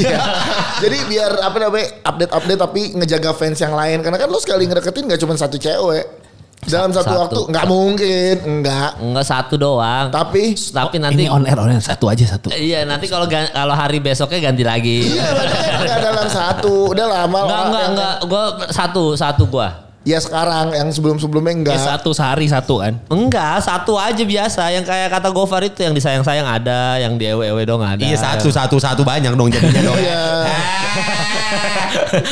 Jadi biar apa namanya update-update tapi ngejaga fans yang lain karena kan lu sekali ngedeketin gak cuma satu cewek dalam satu, Satu. waktu nggak mungkin nggak nggak satu doang. tapi Tapi nanti Oh, Ini on air on air satu aja satu. Iya nanti kalau gan- kalau hari besoknya ganti lagi. Iya. nggak dalam satu udah lama Enggak orang enggak yang- enggak. Gue satu satu gue. ya sekarang yang sebelum-sebelumnya Ya, enggak satu sehari satu kan. Enggak, satu aja biasa yang kayak kata Gofar itu yang disayang-sayang ada, yang di ewe dong ada. Iya satu satu satu banyak dong jadinya dong. Iya.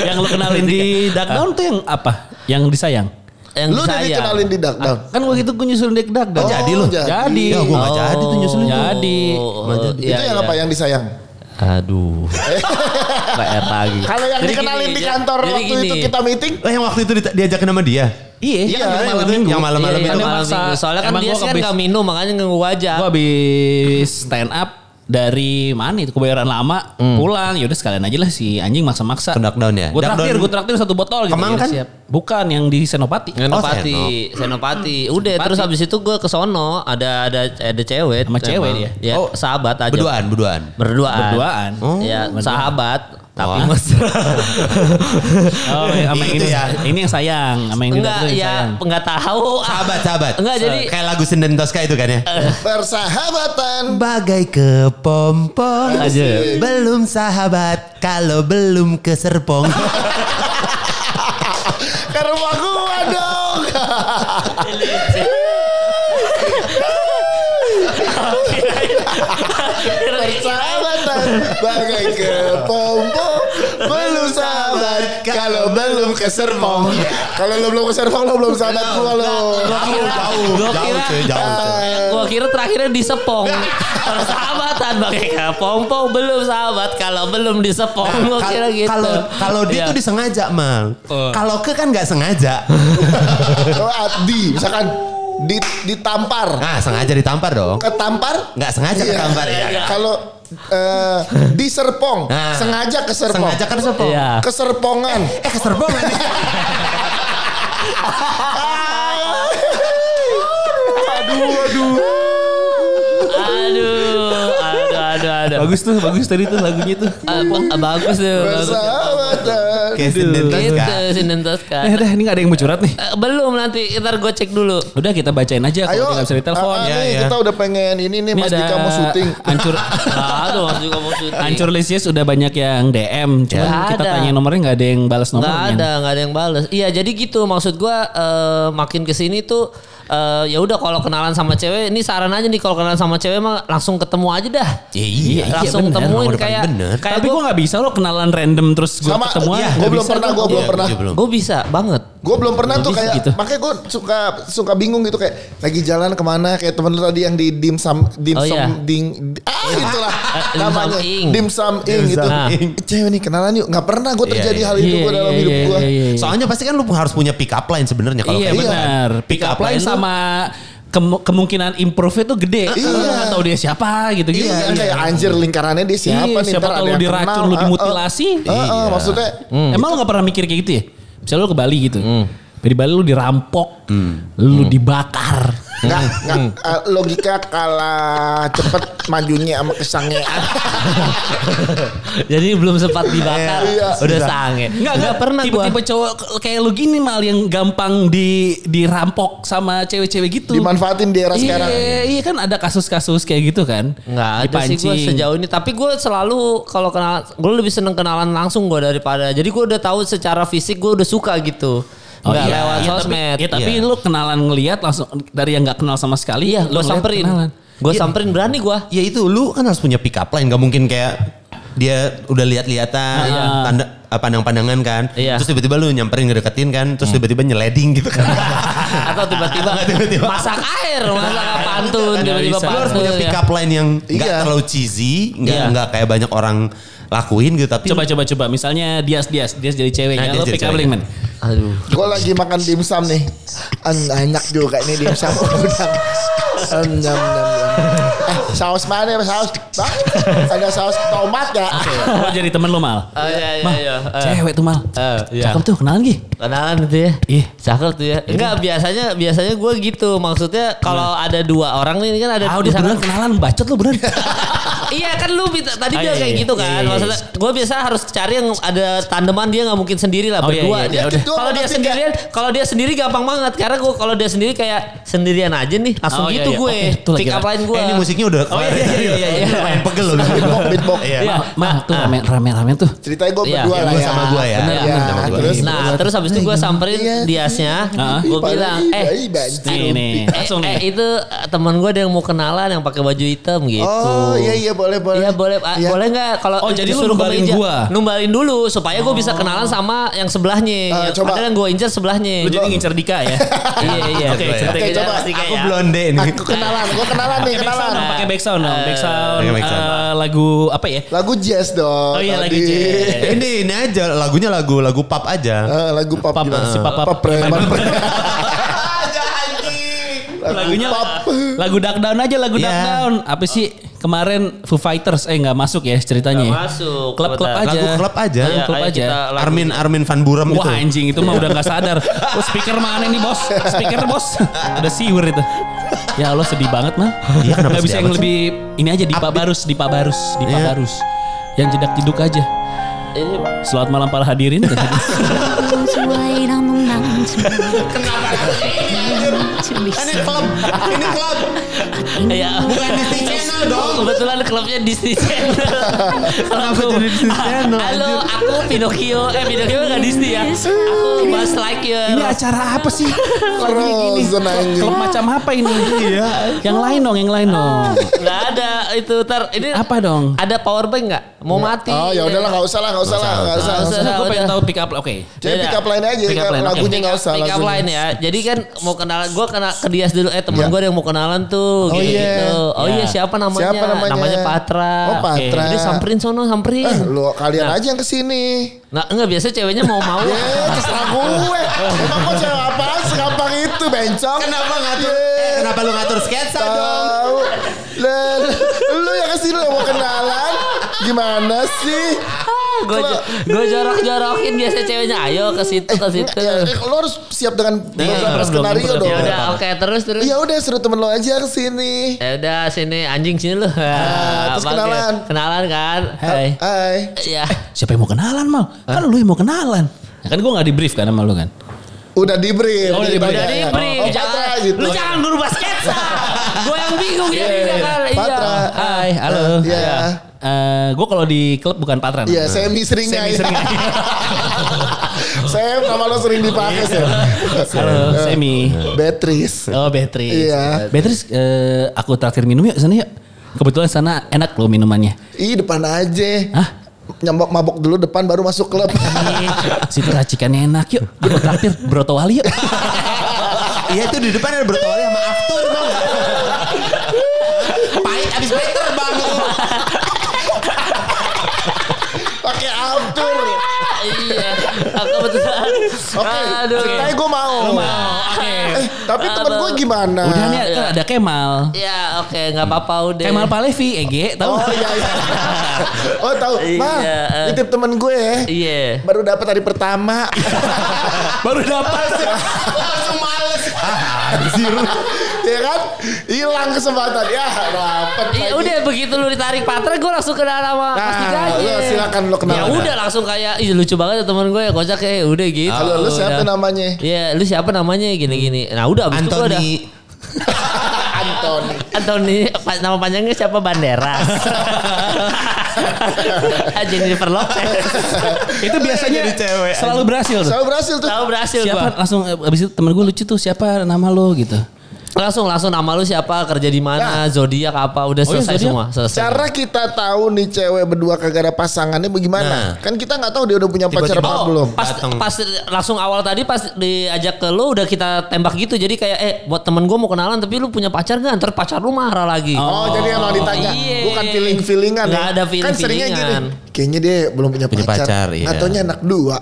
yang lu kenalin di Darkdown tuh yang apa? Yang disayang. Ah, Yang lu udah disayang. dikenalin di Darkdown Kan begitu gue nyusulin di Darkdown. Oh, jadi lu. jadi. Jadi. Ya Oh, gue nggak jadi tuh nyusulin. Jadi. iya, itu yang apa ya? yang disayang Aduh. PR lagi. kalau yang dikenalin di kantor waktu itu kita meeting Lah yang waktu itu di- diajakin sama dia. Iya. Iya, yang itu- yang malam-malam Iya, itu malam maksa. minggu. Soalnya kan Emang dia gua sih kan kebis- gak minum makanya nunggu aja. Gue habis stand up dari mana itu kebayoran lama pulang yaudah sekalian aja lah si anjing maksa-maksa Ke Darkdown ya? gue traktir Darkdown- gue traktir satu botol gitu Kemang Yaudah, kan? bukan yang di senopati Senopati, Oh, Senopati. Udah terus habis itu gue ke sono ada ada ada cewek Sama cewek emang. dia? Ya, Oh, sahabat aja. Berduaan, berduaan. Oh. Berduaan. Berduaan. Ya, sahabat tapi Wah. oh sama yang ini Itu ya. ini yang sayang sama yang di Enggak Darkdown yang sayang ya enggak tahu. gitu Sahabat, sahabat. Enggak, jadi- Eh. kayak lagu Senden Tosca itu kan ya. persahabatan Bagai kepompong Aja. ya. Belum sahabat Kalau belum ke Serpong ke rumah gua dong persahabatan bagai ke pompo belum sahabat kalau belum ke Serpong kalau lo belum ke Serpong lo belum sahabat gua lo Jauh jauh Gua Jauh kira- cuy jauh cuy. Gua kira terakhirnya disepong. Kalau sahabatan pakai kepompong belum sahabat kalau belum disepong gua Nah, Kal- kira gitu. Kalau kalau dia Iya. Oh. tuh disengaja mal. Kalau ke kan nggak sengaja. Kalau di misalkan di ditampar Nah sengaja ditampar dong. Kan- ketampar Nggak sengaja ketampar ya. kalau eh, di Serpong Nah. sengaja ke Serpong Sengaja kan Serpong. Iya. keserpongan Eh ke Serpong kan? Iya. aduh, aduh, aduh, aduh. bagus tuh bagus tadi tuh lagunya tuh Ah, ba- bagus tuh. bagus. persahabatan Kayak Senden Tosca. Gitu Sinden Tosca. eh udah ini gak ada yang mau curhat nih Eh, belum nanti ntar gue cek dulu. udah kita bacain aja Ayo, kalau nggak bisa di telepon ah, ah, Ya, nih, ya. kita udah pengen ini nih Mas Dika mau syuting. hancur Aduh, maksud gua mau syuting. hancur listnya sudah banyak yang DM cuman Nggak kita ada. tanya nomornya nggak ada yang balas Nggak nomornya ada, nggak ada yang bales. Iya, jadi gitu maksud gua eh, makin kesini tuh eh, ya udah kalau kenalan sama cewek, ini saran aja nih kalau kenalan sama cewek mah langsung ketemu aja dah. Ya, iya, iya, langsung bener. temuin Nomor depan kayak bener. kayak tapi gue gua- nggak gitu. bisa lo kenalan random terus gue Sama- ketemu iya, aja. Gue belum pernah, gue belum pernah. Iya, belum. Gue bisa banget. Gue belum pernah Belum tuh bisa kayak gitu. makanya gue suka suka bingung gitu kayak lagi jalan kemana kayak temen lu tadi yang di dimsum dimsum Oh, iya. ding ah Iya. itulah dimsum namanya ing. dimsum ing gitu. Nah. Cewek nih kenalan yuk nggak pernah Iya, gue terjadi hal itu gue dalam hidup gue. Soalnya pasti kan lu harus punya pick up line sebenarnya kalau Iya kayak gitu. benar. Pick up lu- line sama kem- kemungkinan improve itu gede. Iya. Atau dia siapa gitu gitu. Iya, kayak anjir lingkarannya dia siapa Iya, nih siapa ntar tahu ada lu yang diracun, kenal. lu Ah, ah. dimutilasi. Iya. Ah, ah, maksudnya Emang lu gak pernah mikir kayak gitu ya? Misalnya lu ke Bali gitu. Di Bali lu dirampok, lu dibakar. nggak nggak eh, logika kalah cepet majunya sama kesangean. Jadi belum sempat dibakar, Iya. udah sange. Enggak, enggak pernah gue. Tipe-tipe cowok kayak lu gini mal yang gampang di dirampok sama cewek-cewek gitu. Dimanfaatin di era sekarang. Iya, iya kan ada kasus-kasus kayak gitu kan. Nggak ada sih gue Dipancing. sejauh ini. Tapi gue selalu kalau kenal, gue lebih seneng kenalan langsung gue daripada. Jadi gue udah tahu secara fisik gue udah suka gitu. Oh, Nggak iya. lewat Iya, tapi- sosmed. Iya, tapi Iya. lu kenalan ngelihat langsung dari yang nggak kenal sama sekali. Iya, gue lu ngeliat samperin. kenalan. Gue samperin berani gue. Ya itu lu kan harus punya pick up line. Gak mungkin kayak dia udah lihat-lihatan, Iya. tanda eh, pandang-pandangan kan. Iya. Terus tiba-tiba lu nyamperin ngedeketin kan, terus tiba-tiba nyeleding gitu kan. Atau tiba-tiba Tiba-tiba. masak air, masak pantun, Nggak tiba-tiba bisa. Iya. Lu harus pantun. punya pick ya. up line yang nggak Iya. terlalu cheesy, nggak Iya. nggak kayak banyak orang lakuin gitu tapi Coba coba coba misalnya Dias Dias Dias jadi ceweknya Nah, lo Dias jadi pick up ceweknya. link man. Aduh. Gue lagi makan dimsum nih. En- enak juga ini dimsum udang. Em, nyam, nyam, nyam. Eh, saus mana saus? Bang, ada saus tomat gak? Lo jadi temen lo mal. Oh, iya, iya, Mal, iya. Eh. Cewek tuh mal. Eh, iya. Cakep tuh kenalan Gi. Kenalan gitu ya. Ih. Cakep tuh ya. Enggak, biasanya biasanya gue gitu. Maksudnya kalau ada dua orang nih ini kan ada Ah di udah sana- beneran kenalan bacot lo beneran. iya kan lu minta- tadi Ah, dia iya, kayak iya. gitu kan. Iya, iya, iya. Maksudnya gue biasa harus cari yang ada tandeman dia nggak mungkin sendiri lah Oh, iya, berdua iya, iya, dia. udah. Kalau dia Nanti sendirian, kalau dia sendiri gampang banget karena gue kalau dia sendiri kayak sendirian aja nih langsung Oh, iya, gitu iya. gue. Oke, itu lagi Pick up lah. line gue. eh, ini musiknya udah Oh, iya, keluar iya, tadi iya, loh. iya, iya. Lumayan pegel loh. Beatbox, beatbox. Iya. Iya. Mal, mal tuh rame rame rame tuh. Ceritanya gue Iya, berdua iya, lah gua ya. sama gua ya. Bener, Iya, ya. sama gua. Terus Nah, terus habis itu gue Iya. Iya. samperin diasnya, gue bilang, eh, Nih nih iya, langsung eh, nih. itu eh, teman gue ada yang mau kenalan yang pakai baju hitam gitu. Oh iya iya boleh boleh. Iya boleh ah, Iya. boleh nggak kalau Oh, jadi lu disuruh ke numbalin meja? gua? Oh. numbalin dulu supaya gue bisa kenalan sama yang sebelahnya Eh, Yang- coba. padahal yang gue incer sebelahnya Lo jadi ngincer Dika ya. iya iya Oke, Oke, cerita Oke, kita coba. pasti kayak Aku ya. blonde nih. Aku kenalan, gue kenalan Nah, nih Pakai kenalan. backsound dong, pakai backsound dong, backsound, Pakai backsound. eh, lagu apa ya? Lagu jazz dong. Oh iya lagu tadi. jazz. Ini ini aja lagunya lagu lagu pop aja. Eh, lagu pop, Pop, gimana? si pop, pop. preman. Lagunya pop. lagu Duck Down aja lagu Duck Iya. Down. Apa sih kemarin Foo Fighters eh nggak masuk ya ceritanya. ya? Nggak masuk, Klub-klub betul. aja. Lagu klub aja. Ayo, Klub ayo aja. kita lagu- Armin Armin Van gitu. Buren Wah itu. anjing itu mah udah nggak sadar. Oh, speaker mana nih bos? Speaker bos. Ada siwir itu. Ya Allah sedih banget mah. Iya, kenapa Nggak bisa sedih yang amat lebih ini aja di Barus, di Barus, di Iya. Barus. Yang jedak jeduk aja. Iya. Ini Selamat malam para hadirin. Who's white on the mountain? To be seen. Ini klub. ya Iya. bukan Disney Channel dong kebetulan klubnya Disney Channel Kenapa jadi Disney Channel, halo aku Pinocchio eh Pinocchio nggak Disney ya aku Buzz Lightyear ini acara apa sih? Lagunya gini. Frozen anjing. Klub macam apa ini? Iya. Yang lain dong, yang lain dong. nggak ada itu ntar ini Apa dong? ada power bank nggak mau mati Oh ya udahlah nggak usah lah nggak usah lah nggak usah. Nggak usah. Iya. Gue pengen udah. tahu pick up. Oke. Jadi Beda. pick up line aja, Pick up line, lagunya oke. nggak usah Pick up langsung. line ya. Jadi kan mau kenalan, gue kenal ke Dias dulu. Eh teman Iya. gue ada yang mau kenalan tuh. Oh, gitu, iya. gitu. Oh iya Iya. siapa namanya? Siapa namanya? Patra. Oh, Oke. Patra. Jadi samperin sono samperin. Eh, lu kalian aja yang kesini. Nah enggak biasa ceweknya mau mau. Ya, terserah gue. Emang gue cewek apaan segampang itu, bencong. Kenapa ngatur? Ye, Eh, kenapa lu ngatur sketsa dong? Tahu. Lan, lu yang kesini lu mau kenalan? Gimana sih? gue gue jorok jorokin biasa ceweknya. Ayo ke situ ke situ. Ya, eh, lu harus siap dengan beberapa belum, skenario belum, dong. Ya udah oke terus terus. Ya udah suruh temen lo aja kesini. Ya udah sini anjing sini lu. Ah, terus Bangke. kenalan. Kenalan kan. Hai. Hai. Ya. Siapa yang mau kenalan mal? Kan lu yang mau kenalan. Ya kan gue gak di brief kan sama lu kan. Udah di brief. Oh, udah di brief. Udah di brief, Iya, Oh, Patra jangan, gitu. lu jangan berubah sketsa. gue yang bingung Iya, jadi iya, jangan. iya. Patra. Iya. Hai, halo. Iya. gue kalau di klub bukan patron. Iya, semi seringai. Sam, nama lo sering dipakai, Sam. Eh, Halo, Semi. Beatrice. Oh, Beatrice. Iya. Beatrice, eh, aku traktir minum yuk sana yuk. Kebetulan sana enak loh minumannya. Ih, depan aja. Hah? nyambok mabok dulu depan baru masuk klub. Iya. Situ racikannya enak yuk. Kita traktir Broto Wali yuk. Iya itu di depan ada bertolak sama after bang. Pahit abis better bang. Pakai after. iya. Aku betulan. Oke, Aduh. ceritanya gue mau. Eh, tapi temen gue gimana? Udah nih Iya. kan ada Kemal. Ya oke nggak apa-apa udah. Kemal Palevi, Ege, tahu? Oh iya iya. Oh tahu. Ma, Iya, eh. titip temen gue ya. Iya. Baru dapat hari pertama. Baru dapat. Langsung males. Anjir. ya kan? Hilang kesempatan. Ya, dapat. Iya udah begitu lu ditarik patra gue langsung kenal sama Nah, Mas Tiga aja. lu silakan lu kenal. Ya udah langsung kayak ih lucu banget ya teman gue ya kocak ya udah gitu. Halo, lu siapa Udah. namanya? Iya, lu siapa namanya gini-gini. Nah, udah abis itu gua udah Anthony Antoni. Anthony pa- nama panjangnya siapa Banderas. Ah, Jennifer Lopez. Itu biasanya Jadi cewek. selalu berhasil tuh. Iya. Selalu berhasil tuh. Tahu berhasil Siapa gua. langsung eh, abis itu temen gue lucu tuh siapa nama lo gitu. Langsung langsung nama lu siapa, kerja di mana, zodiak apa, udah Oh iya, selesai zodiak. semua, selesai. Cara kita tahu nih cewek berdua kagak ada pasangannya bagaimana? Nah. Kan kita nggak tahu dia udah punya pacar Tiba-tiba, apa oh, belum. pas Dateng. pas langsung awal tadi pas diajak ke lu udah kita tembak gitu jadi kayak eh buat temen gue mau kenalan tapi lu punya pacar gak ntar pacar lu marah lagi Nah, Oh, jadi emang ditanya Iya. bukan feeling feelingan Nggak ada Kan seringnya gini. feeling-feelingan. Kayaknya dia belum punya, Punya pacar, pacar. iya. Ataunya anak dua.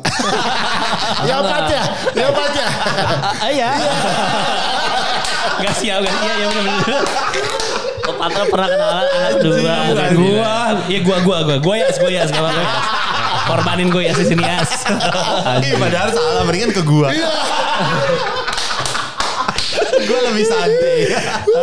ya pacar, ya pacar. Iya. Gak sial, gak sial ya bener-bener. Oh, Patra pernah kenalan anak dua bukan Bukan gue gua. Iya gua gua gua. Gua ya, gua ya enggak apa-apa. Korbanin gua ya di sini ya. Ih padahal salah mendingan ke gua. Iya. gua lebih santai.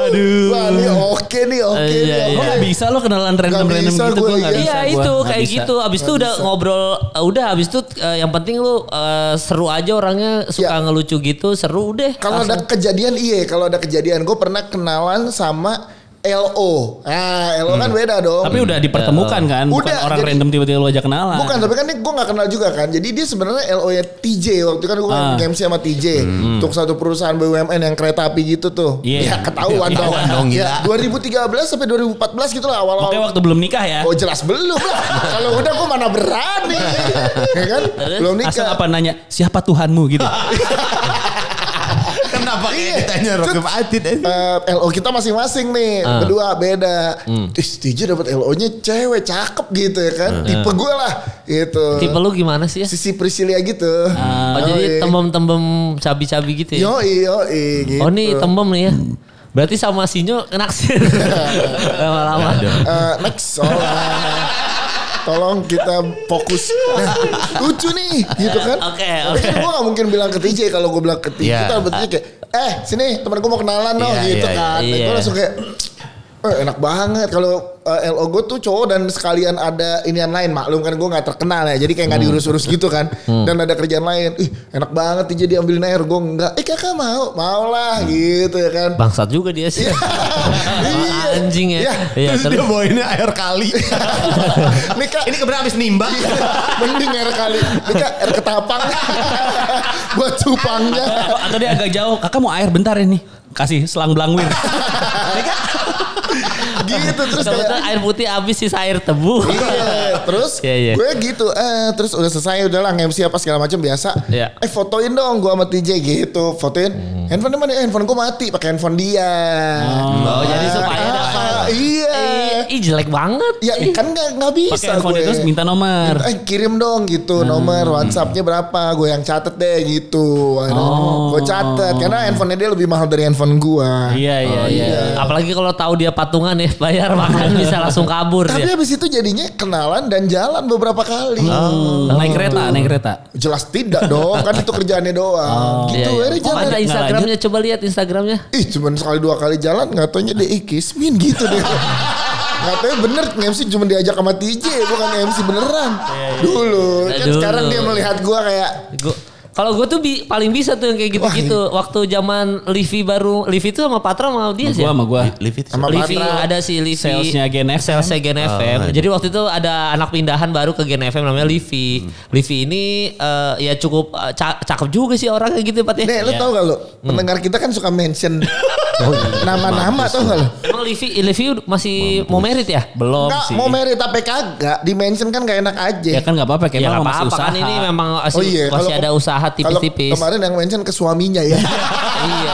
Aduh. Wah, ini oke nih, oke Iya, nih. iya. Gua oke. gak bisa lo kenalan random-random bisa gitu gua, gua gak iya. bisa. Iya gua. itu Nggak kayak bisa. gitu. Abis itu udah ngobrol, eh, udah abis itu eh, yang penting lu eh, seru aja orangnya suka Iya. ngelucu gitu, seru deh. Kalau ada kejadian iya, kalau ada kejadian gue pernah kenalan sama LO. Ah, LO kan beda dong. Hmm. Tapi Iya. udah dipertemukan kan, bukan Udah, orang jadi- random tiba-tiba lo ajak kenalan. Bukan, tapi kan ini gue gak kenal juga kan. Jadi dia sebenarnya LO nya TJ waktu itu kan gue Ah. Hmm. MC sama TJ untuk satu perusahaan BUMN yang kereta api gitu tuh. Iya. Ya ketahuan dong. Ketahuan dong, gila. Ya, 2013 sampai 2014 gitu lah awal-awal. Makanya waktu belum nikah ya. Oh jelas belum lah. Kalau udah gue mana berani. ya kan? Belum Asal nikah. apa nanya siapa Tuhanmu gitu. Kenapa Iya. kayak ditanya Rocky Adit? Eh, LO kita masing-masing nih Ah. berdua beda. Hmm. Ih, TJ dapat LO-nya cewek cakep gitu ya kan. Tipe gue lah Ah. gitu. Tipe lu gimana sih ya? Sisi Priscilia gitu. Oh, Iya. jadi tembem-tembem cabi-cabi gitu ya? Yo yo gitu. Oh nih tembem nih ya. Berarti sama Sinyo naksir. Lama-lama. Eh, next soalnya. Tolong kita fokus. Nah, lucu nih gitu kan. Oke, Tapi oke. gue gak mungkin bilang ke TJ kalau gue bilang ke TJ. Iya. Kita betulnya kayak eh sini temen gue mau kenalan dong Iya, gitu iya, kan. iya. Gue langsung kayak eh, enak banget kalau eh, LO gue tuh cowok dan sekalian ada inian lain maklum kan gue nggak terkenal ya jadi kayak nggak Hmm. diurus-urus gitu kan dan ada kerjaan lain ih enak banget TJ diambilin air gue nggak eh kakak mau mau lah Hmm. gitu ya kan Bangsat juga dia sih. Anjing ya. Iya. Iya, Terus dia terus. bawainnya air kali. Nih, Kak. Ini kebetulan abis nimbang. Mending air kali. Ini kan air ketapang. Buat cupangnya. Atau dia agak jauh, kakak mau air bentar ini. Kasih selang belangwin. gitu terus Kebetulan kayak. air putih habis sisa air tebu. Iya, terus Iya, iya. gue gitu, eh, terus udah selesai udah lah MC apa segala macam biasa. Iya. Hmm. Eh fotoin dong gue sama TJ gitu, fotoin. Handphone mana? Eh, Handphone gue mati, pakai handphone dia. Oh, jadi Ah, supaya ada ah, iya. Eh, Ih jelek banget. Ya kan nggak nggak Pakai bisa handphone gue. itu terus minta nomor. Eh kirim dong gitu Hmm. nomor WhatsAppnya berapa gue yang catet deh gitu Oh. gue catet karena handphone dia lebih mahal dari handphone gue Iya iya iya. Apalagi kalau tahu dia patungan ya bayar makan bisa langsung kabur tapi dia. habis itu jadinya kenalan dan jalan beberapa kali Oh. Naik kereta, naik kereta. jelas tidak dong kan itu kerjaannya doang gitu Iya, iya. akhirnya Oh, jalan ada Instagramnya coba lihat Instagramnya. ih cuman sekali dua kali jalan nggak taunya dia "Ih, kismin gitu deh Katanya bener MC cuma diajak sama TJ bukan MC Iya, beneran dulu kan Dulu. sekarang dia melihat gue kayak Gua- kalau gue tuh bi- paling bisa tuh yang kayak gitu-gitu. Waktu zaman Livi baru, Livi tuh sama Patra sama dia sih. Gua ya? sama gua. Live itu. sama Livi Patra ada si Livi. Salesnya Gen FM. Salesnya Gen FM. iya. ada. Jadi waktu itu ada anak pindahan baru ke Gen FM namanya Livi. Hmm. Livi ini eh, ya Iya. cukup eh, ca- cakep juga sih orangnya gitu Pat. ya. Nih lu tau gak lu Pendengar kita kan suka mention Oh, iya. Nama-nama tau gak lo? Emang Livi, Livi masih mau merit ya? Belum Enggak sih. mau merit tapi kagak. Di mention kan gak enak aja. Ya kan gak apa-apa. Ya Kemal nggak masih apa-apa usaha. kan ini memang masih, Oh iya, masih kalau- ada usaha tipis-tipis. Kalau kemarin yang mention ke suaminya ya. iya.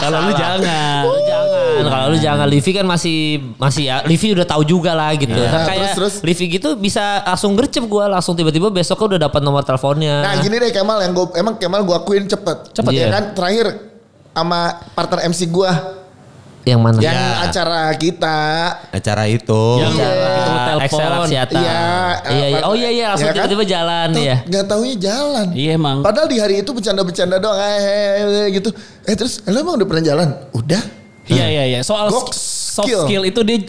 Kalau lu jangan. Lu jangan. Kalau lu jangan Livi kan masih masih ya Livi udah tahu juga lah gitu. Iya. Nah, Kayak terus, terus. Livi gitu bisa langsung gercep gua langsung tiba-tiba besok udah dapat nomor teleponnya. Nah gini deh Kemal yang gue emang Kemal gue akuin cepet. Cepet, ya iya. kan terakhir sama partner MC gue yang mana? yang Iya. acara kita. Acara itu. Yang itu Iya. Excel telepon. Axiata. Iya, iya, iya. apa- Oh iya iya langsung Iya kan? tiba-tiba jalan ya. Tuh, Nggak taunya jalan. Iya emang. Padahal di hari itu bercanda-bercanda doang eh, eh, eh, gitu. Eh terus eh, lo emang udah pernah jalan? Udah. Iya iya iya. Soal Gok- soft skill. skill. itu dia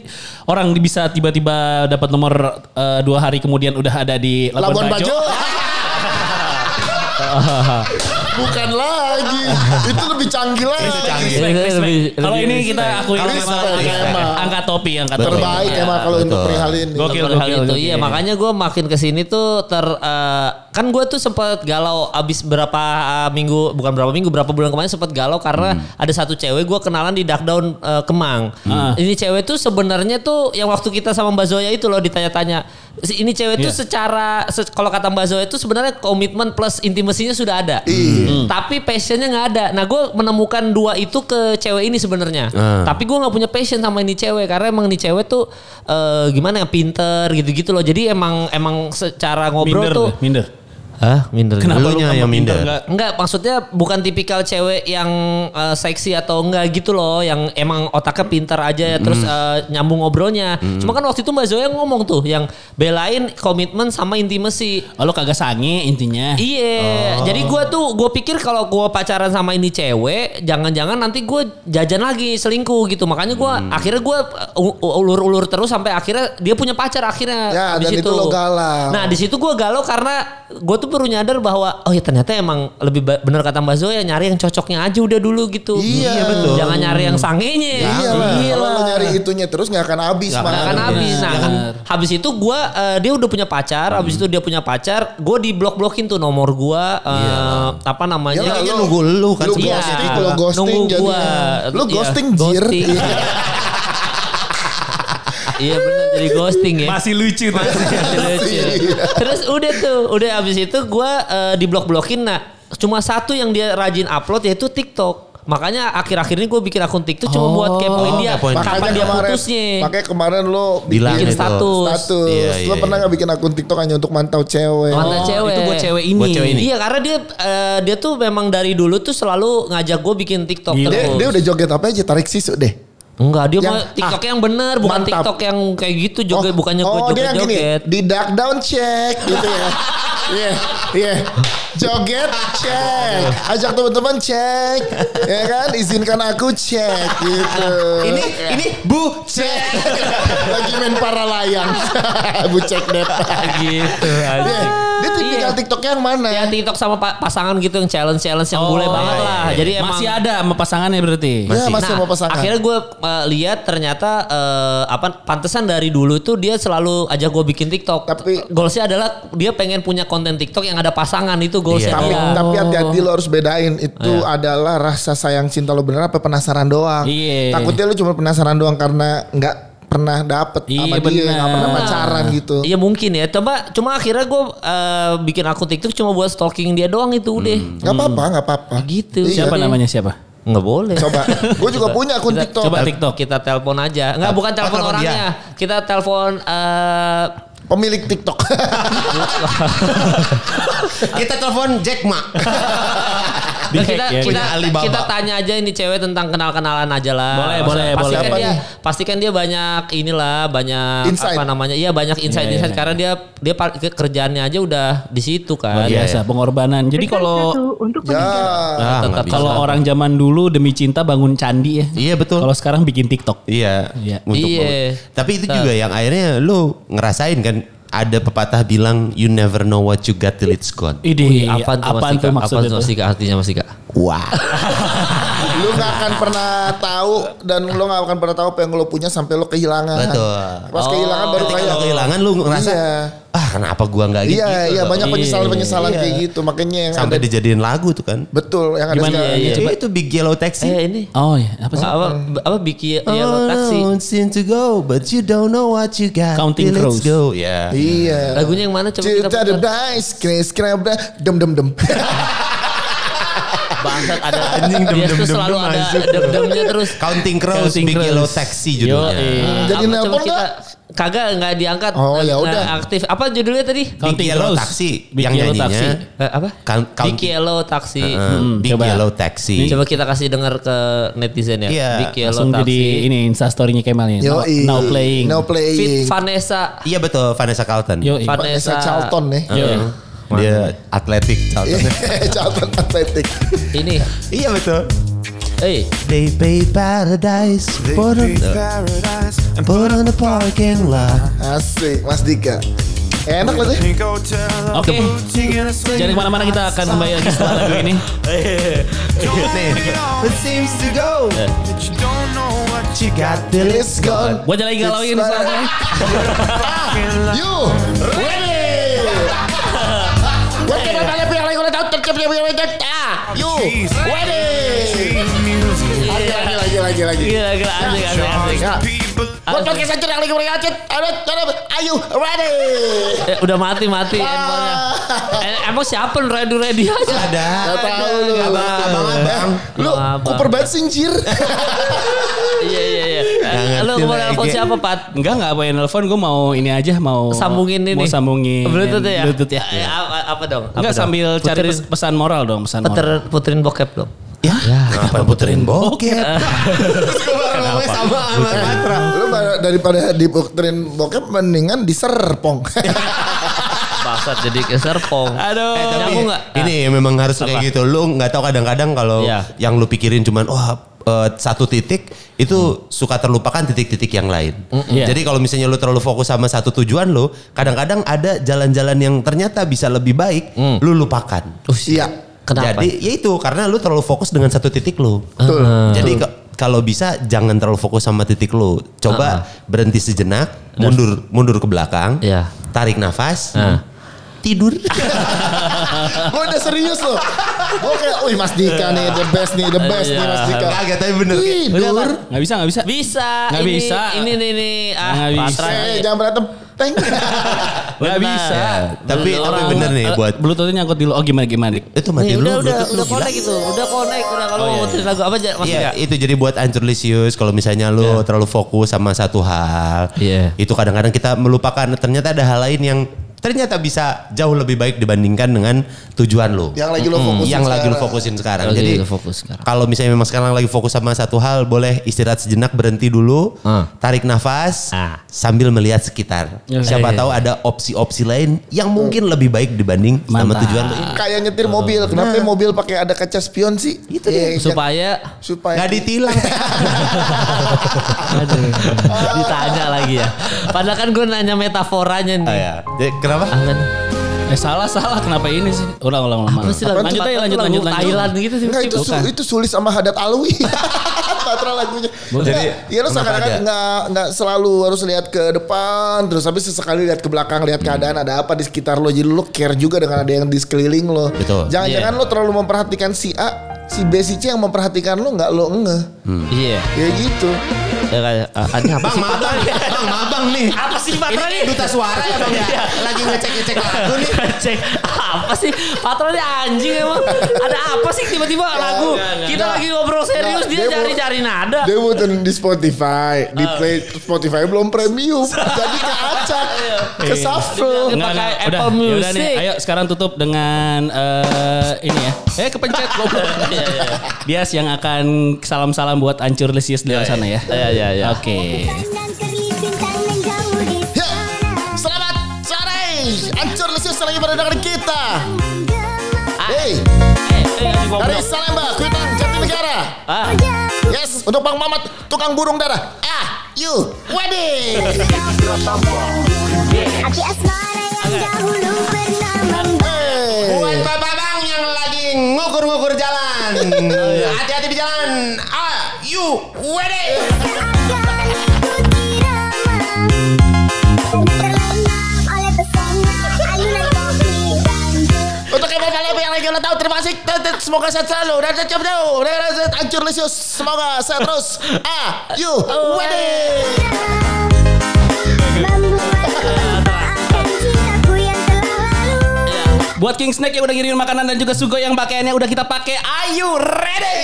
orang bisa tiba-tiba dapat nomor eh, dua hari kemudian udah ada di Labuan Bajo. Bukan lagi. itu lebih canggih lagi. canggih. Ini Respect, Iya, lebih- respect. Kalau lebih ini kita respect. akui Respect, memang angka, respect. angka topi, angka Betul. topi. Terbaik Iya, emang kalau untuk betul. perihal ini. Gokil. Gokil, gokil, itu. gokil. Iya, makanya gue makin kesini tuh ter eh, kan gue tuh sempat galau abis berapa eh, minggu bukan berapa minggu berapa bulan kemarin sempat galau karena ada satu cewek gue kenalan di Darkdown eh, Kemang. Ini cewek tuh sebenarnya tuh yang waktu kita sama Mbak Zoya itu loh ditanya-tanya. Si- Ini cewek Iya. tuh secara se- kalau kata Mbak Zoya itu sebenarnya komitmen plus intimasinya sudah ada. Hmm. Tapi passionnya nggak ada. Nah gue menemukan dua itu ke cewek ini sebenarnya. Ah. Tapi gue nggak punya passion sama ini cewek karena emang ini cewek tuh eh, gimana ya pinter gitu-gitu loh. Jadi emang emang secara ngobrol Minder, tuh. minder. Hah minder. Kenapa Elunya tambah yang minder. nggak? Enggak, maksudnya bukan tipikal cewek yang eh, seksi atau enggak gitu loh, yang emang otaknya pintar aja terus eh, nyambung ngobrolnya. Cuma kan waktu itu Mbak Zoya ngomong tuh yang belain komitmen sama intimacy. Oh, lu kagak sange ya? intinya. Oh. Iya, jadi gua tuh gue pikir kalau gua pacaran sama ini cewek, jangan-jangan nanti gue jajan lagi selingkuh gitu. Makanya gua Hmm. akhirnya gua uh, ulur-ulur terus sampai akhirnya dia punya pacar akhirnya. Ya, habis dan itu lo galau. Nah di situ gua galau karena gue tuh baru nyadar bahwa oh ya ternyata emang lebih ba- bener kata Mbak Zoya nyari yang cocoknya aja udah dulu gitu. Iya. Iya, betul. Jangan nyari yang sangenya. Iya lah. Kalau lo nyari itunya terus nggak akan habis. Iya. Gak Mak. akan habis. Nah, Bener. habis itu gua eh, dia udah punya pacar, habis itu Hmm. dia punya pacar, gua diblok-blokin tuh nomor gua eh, apa namanya? Iyalah, Kayaknya Iya. Ya, lo- nunggu lu kan. Lu Iya. ghosting, kalau ghosting Nunggu jadi. gua. Lu Iya, ghosting jir. ghosting. Iya benar jadi ghosting ya. Masih lucu tuh. Masih Iya, lucu. Iya. Terus udah tuh, udah abis itu gue di blok-blokin. Nah, cuma satu yang dia rajin upload yaitu TikTok. Makanya akhir-akhir ini gue bikin akun TikTok cuma buat Oh. kepoin dia kepoin. kapan dia putusnya. Makanya kemarin lo Bilang Bikin itu. status. status. Iya, lo iya, pernah iya. nggak bikin akun TikTok hanya untuk mantau cewek? Mantau cewek. Itu buat cewek ini. Buat cewek Hmm. ini. Iya karena dia eh, dia tuh memang dari dulu tuh selalu ngajak gue bikin TikTok Eh, Gila. Dia, terus. dia udah joget apa aja? Tarik sisu deh. Enggak dia Yang- ah, mau TikTok yang bener bukan mantap. TikTok yang kayak gitu joget Oh, bukannya gue oh, dia joget yang gini. joget. Di dark down check gitu ya. Iya, iya. Joget cek. Ajak teman-teman cek. Ya kan? Izinkan aku cek gitu. Ini ini bu cek. lagi main para layang. Bu cek net. gitu. Dia, anjing. dia tipikal Iya. TikToknya yang mana? Ya TikTok sama pa- pasangan gitu yang challenge challenge Oh, yang bule banget iya, lah. iya. Jadi emang Iya, Nah, masih ada sama pasangannya berarti. Ya, masih sama pasangan. Akhirnya gue uh, lihat ternyata uh, apa pantesan dari dulu tuh dia selalu ajak gue bikin TikTok. Tapi- goalsnya adalah dia pengen punya konten TikTok yang ada pasangan itu goalsnya. Iya. Tapi dia. tapi hati-hati lo harus bedain itu adalah rasa sayang cinta lo bener apa penasaran doang. Iya. Takutnya lo cuma penasaran doang karena nggak pernah dapet sama Iya, dia, nggak bener. pernah pacaran gitu. Iya mungkin ya. Coba cuma akhirnya gue uh, bikin akun TikTok cuma buat stalking dia doang itu udah. Gak apa-apa, gak apa-apa. Gitu. Siapa Iya. namanya siapa? Nggak boleh. Coba, gue juga punya akun Kita- TikTok. Coba TikTok. Kita telepon aja. Enggak bukan telepon telepon dia. orangnya. Kita telepon eh, Pemilik TikTok. Kita telepon Jack Ma. Nah, kita Di- ya, kita punya Alibaba. kita tanya aja ini cewek tentang kenal-kenalan aja lah. Boleh, Masa- boleh, pastikan boleh. dia Apa pastikan dia banyak inilah banyak Insight. apa namanya? Iya banyak insight-insight Iya, iya, karena dia dia pa- ke- kerjaannya aja udah di situ kan. Iya, Biasa pengorbanan. Jadi kalau untuk ya. Ah, nggak bisa. kalau orang zaman dulu demi cinta bangun candi ya. Iya betul. Kalau sekarang bikin TikTok. Iya. Iya. Untuk Iya. bangun. Tapi itu juga yang akhirnya lu ngerasain kan ada pepatah bilang you never know what you got till it's gone. iya. Ide Apaan tuh Mas Dika? Apaan tuh Mas Dika artinya Mas Dika? Wah. Lu gak akan pernah tahu dan lu gak akan pernah tahu apa yang lu punya sampai lu kehilangan. Betul. Pas kehilangan baru Ketika kayak lo kehilangan lu ngerasa Iya. ah kenapa gua nggak gitu. Iya, gitu iya loh. banyak Iya, penyesalan-penyesalan kayak gitu. Makanya yang sampai ada dijadiin lagu tuh kan. betul yang ada Gimana, sekarang. iya, Ya, coba. itu Big Yellow Taxi. Eh ini. Oh iya, apa sih? Apa apa Biki ya, Oh, Yellow Taxi? don't seem to go, but you don't know what you got. Counting Till Crows. it's go. Ya. Iya. Lagunya yang mana coba kita Cerita the putar. dice, kris kris dem dem dem. Bangsat ada Anjing, Dia dem, tuh dem, dem, selalu dem, ada masuk. dem-demnya terus. Counting Crows, Counting Big Crows. eh, Yellow Taxi judulnya. Yoi. Apa, Jadi coba nelpon kita- Kagak nggak diangkat. Oh, ya Nggak udah. Aktif. Apa judulnya tadi? Big Counting Yellow Crows. Taxi Big yang Yellow nyanyinya. Taxi. Eh, apa? Count- count- Biki Yellow Taxi. Hmm. Eh, Big coba. Yellow Taxi. Coba kita kasih dengar ke netizen ya. Iya, Big Yellow Langsung jadi Taxi. ini instastorynya Kemal nih. Now, Yoi. now playing. Now Fit iya. playing. Vanessa. Iya betul Vanessa Carlton. Hmm. Yoi. Vanessa. Vanessa Charlton nih. Iya. Yoi. Iya. Dia atletik Iya. Carlton. Charlton Athletic. Ini. iya betul. Eh, They pay paradise for the paradise and put on the parking lot. Asik, Mas Dika. Enak lah sih. pink hotel. Oke, Oh. jangan kemana-mana kita akan kembali lagi setelah lagu ini. It seems to go. She got the Let's go. Gua aja lagi galauin It's soalnya. You ready? You Oh. ready? Lagi, lagi, lagi, lagi, lagi. gila gila Iya, asik asik asik. Buat podcast aja yang lagi bergacet. Aduh, aduh, Are you ready? Eh, udah mati mati handphonenya. Eh, emang siapa ready ready aja? Ada. Gak tahu lu. Abang, abang, abang. Lu Abang. kuper banget sinjir. Iya iya iya. Eh, Nggak Lu ngerti mau lah, nelfon Ege. siapa Pat? Enggak, enggak apa yang nelfon. Gue mau ini aja, mau... Sambungin ini. Mau sambungin. Bluetooth ya. Bluetooth ya. Eh, Apa, apa dong? Apa Enggak, dong? sambil cari Puterin- pes- pesan moral dong, pesan puter, moral. puterin bokep dong. Ya, kenapa puterin bokep? Terus gue baru ngomongnya sama sama Patra. Lu bar- daripada dibukterin bokep mendingan diserpong. Bangsat jadi ke Serpong. Aduh. Eh, tapi Tapi aku enggak. Ini memang harus kayak gitu. Lu nggak tahu kadang-kadang kalau Iya. yang lu pikirin cuman wah eh, satu titik itu suka terlupakan titik-titik yang lain. Iya. Jadi kalau misalnya lu terlalu fokus sama satu tujuan lu, kadang-kadang ada jalan-jalan yang ternyata bisa lebih baik, lu lupakan. Iya. Mm. Kenapa? Jadi ya itu karena lu terlalu fokus dengan satu titik lu. Betul. Ah. Jadi ke- kalau bisa jangan terlalu fokus sama titik Ah. lu. Coba berhenti sejenak, mundur mundur ke belakang, Iya. tarik nafas, Ah. tidur. Gue udah Oh, serius loh. Gue kayak, wih Mas Dika nih, the best nih, the best nih Mas Dika. Kagak tapi bener. Tidur. Nggak bisa, nggak bisa. Bisa. Nggak ini, bisa. Ini nih nih. Ah, Nggak bisa. Patra. Eh, jangan berantem. Teng. Nggak bisa. Tapi tapi Orang- bener nih eh, buat Bluetoothnya nyangkut dulu. Oh gimana, gimana? itu mati Nih, dulu. udah udah Bluetooth lu udah gila. connect gitu. Udah connect. Udah Oh, kalau mau puterin lagu apa aja Iya, maksudnya. itu jadi buat Angelisius kalau misalnya lu terlalu fokus sama satu hal. Iya. Itu kadang-kadang kita melupakan ternyata ada hal lain yang ternyata bisa jauh lebih baik dibandingkan dengan tujuan lu. Yang lagi lo fokusin yang lagi lu sekarang. fokusin sekarang. Hmm. Lagi Jadi kan. lu fokus sekarang. kalau misalnya memang sekarang lagi fokus sama satu hal, boleh istirahat sejenak, berhenti dulu, Ah. tarik nafas, Ah. sambil melihat sekitar. Ya. Eh. Siapa tahu ada opsi-opsi lain yang mungkin lebih baik dibanding sama Mantap. tujuan lu. Kayak nyetir mobil. Kenapa mobil pakai ada kaca spion sih? Itu Supaya supaya Gak ditilang. ditanya lagi ya. Padahal kan gue nanya metaforanya Ah, iya. nih. ya. Jadi, kenapa? Ah, kan. Eh salah, salah. Kenapa ini sih? Ulang, ulang, ulang. Apa sih lagu Lanjut Patra aja, tuh lanjut, lagu lanjut, lanjut. Thailand gitu sih. Enggak itu, su- Bukan. itu sulis sama Hadat Alwi. Patra lagunya. Jadi, Jadi ya kenapa lu ada? seakan-akan nggak nggak selalu harus lihat ke depan terus habis sesekali lihat ke belakang lihat keadaan ada apa di sekitar lo jadi lu care juga dengan ada yang di sekeliling lo. Betul. Jangan-jangan lo terlalu memperhatikan si A, si B, si C yang memperhatikan lo nggak lo nge. Iya. Ya gitu. Ya kan, ah, ada apa Bang, sih? maaf bang, bang, maaf bang nih. Apa sih Patra Ini nih? duta suara ya bang ya? Iya. Lagi ngecek-ngecek lagu nih. Cek apa sih patronnya anjing emang ada apa sih tiba-tiba lagu kita lagi ngobrol serius Nggak, dia dia mau- cari-cari nada Dia muterin di Spotify, Oh. di play Spotify belum premium, jadi keacak, Iya. ke shuffle. Dia pakai udah, Apple ya udah nih. Music. Ayo sekarang tutup dengan eh, ini ya. Eh kepencet goblok. Bias yang akan salam-salam buat Ancur Lesius di luar sana ya. Iya, iya, iya. Oke. Ya, selamat sore. Ancur lesus lagi pada dengerin kita. Ah. Eh, Hey, dari Salemba, Kuitang, Jatinegara. Ah, Yes, untuk Bang Mamat, tukang burung darah. Ah, you, wedding. Api asmara yang dahulu pernah mem- Hey. Bapak bang yang lagi ngukur-ngukur jalan. Oh, iya. Hati-hati di jalan. Are you ready? Untuk kamu kalian yang lagi ulang tahun terima kasih. Semoga sehat selalu. Dan tetap jauh. Dan tetap hancur lesius. Semoga sehat terus. Ah, you, wedding. Buat King Snack yang udah ngirimin makanan dan juga Sugo yang pakaiannya udah kita pakai. Are you ready?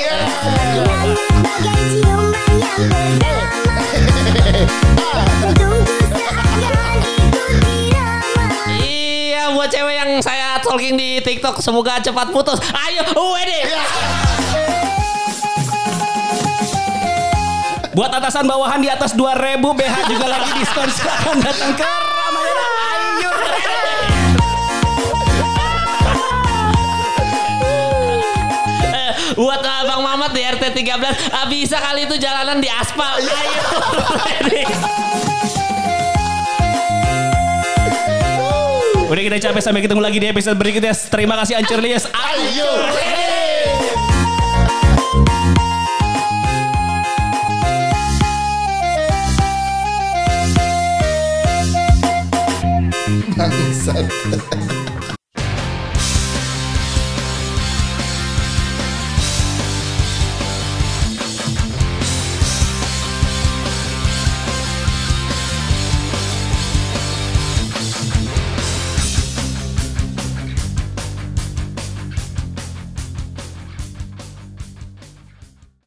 Iya buat cewek yang saya stalking di TikTok semoga cepat putus. Ayo wedding. Buat atasan bawahan di atas 2000 BH juga lagi diskon silakan datang ke Ramayana. Are you ready? Eh, buat uh, Bang Mamat di RT 13 ah, bisa kali itu jalanan di aspal. Ayo wedding. Udah kita capek sampai ketemu lagi di episode berikutnya. Terima kasih Ancur Lies. Are you ready? Bangsat.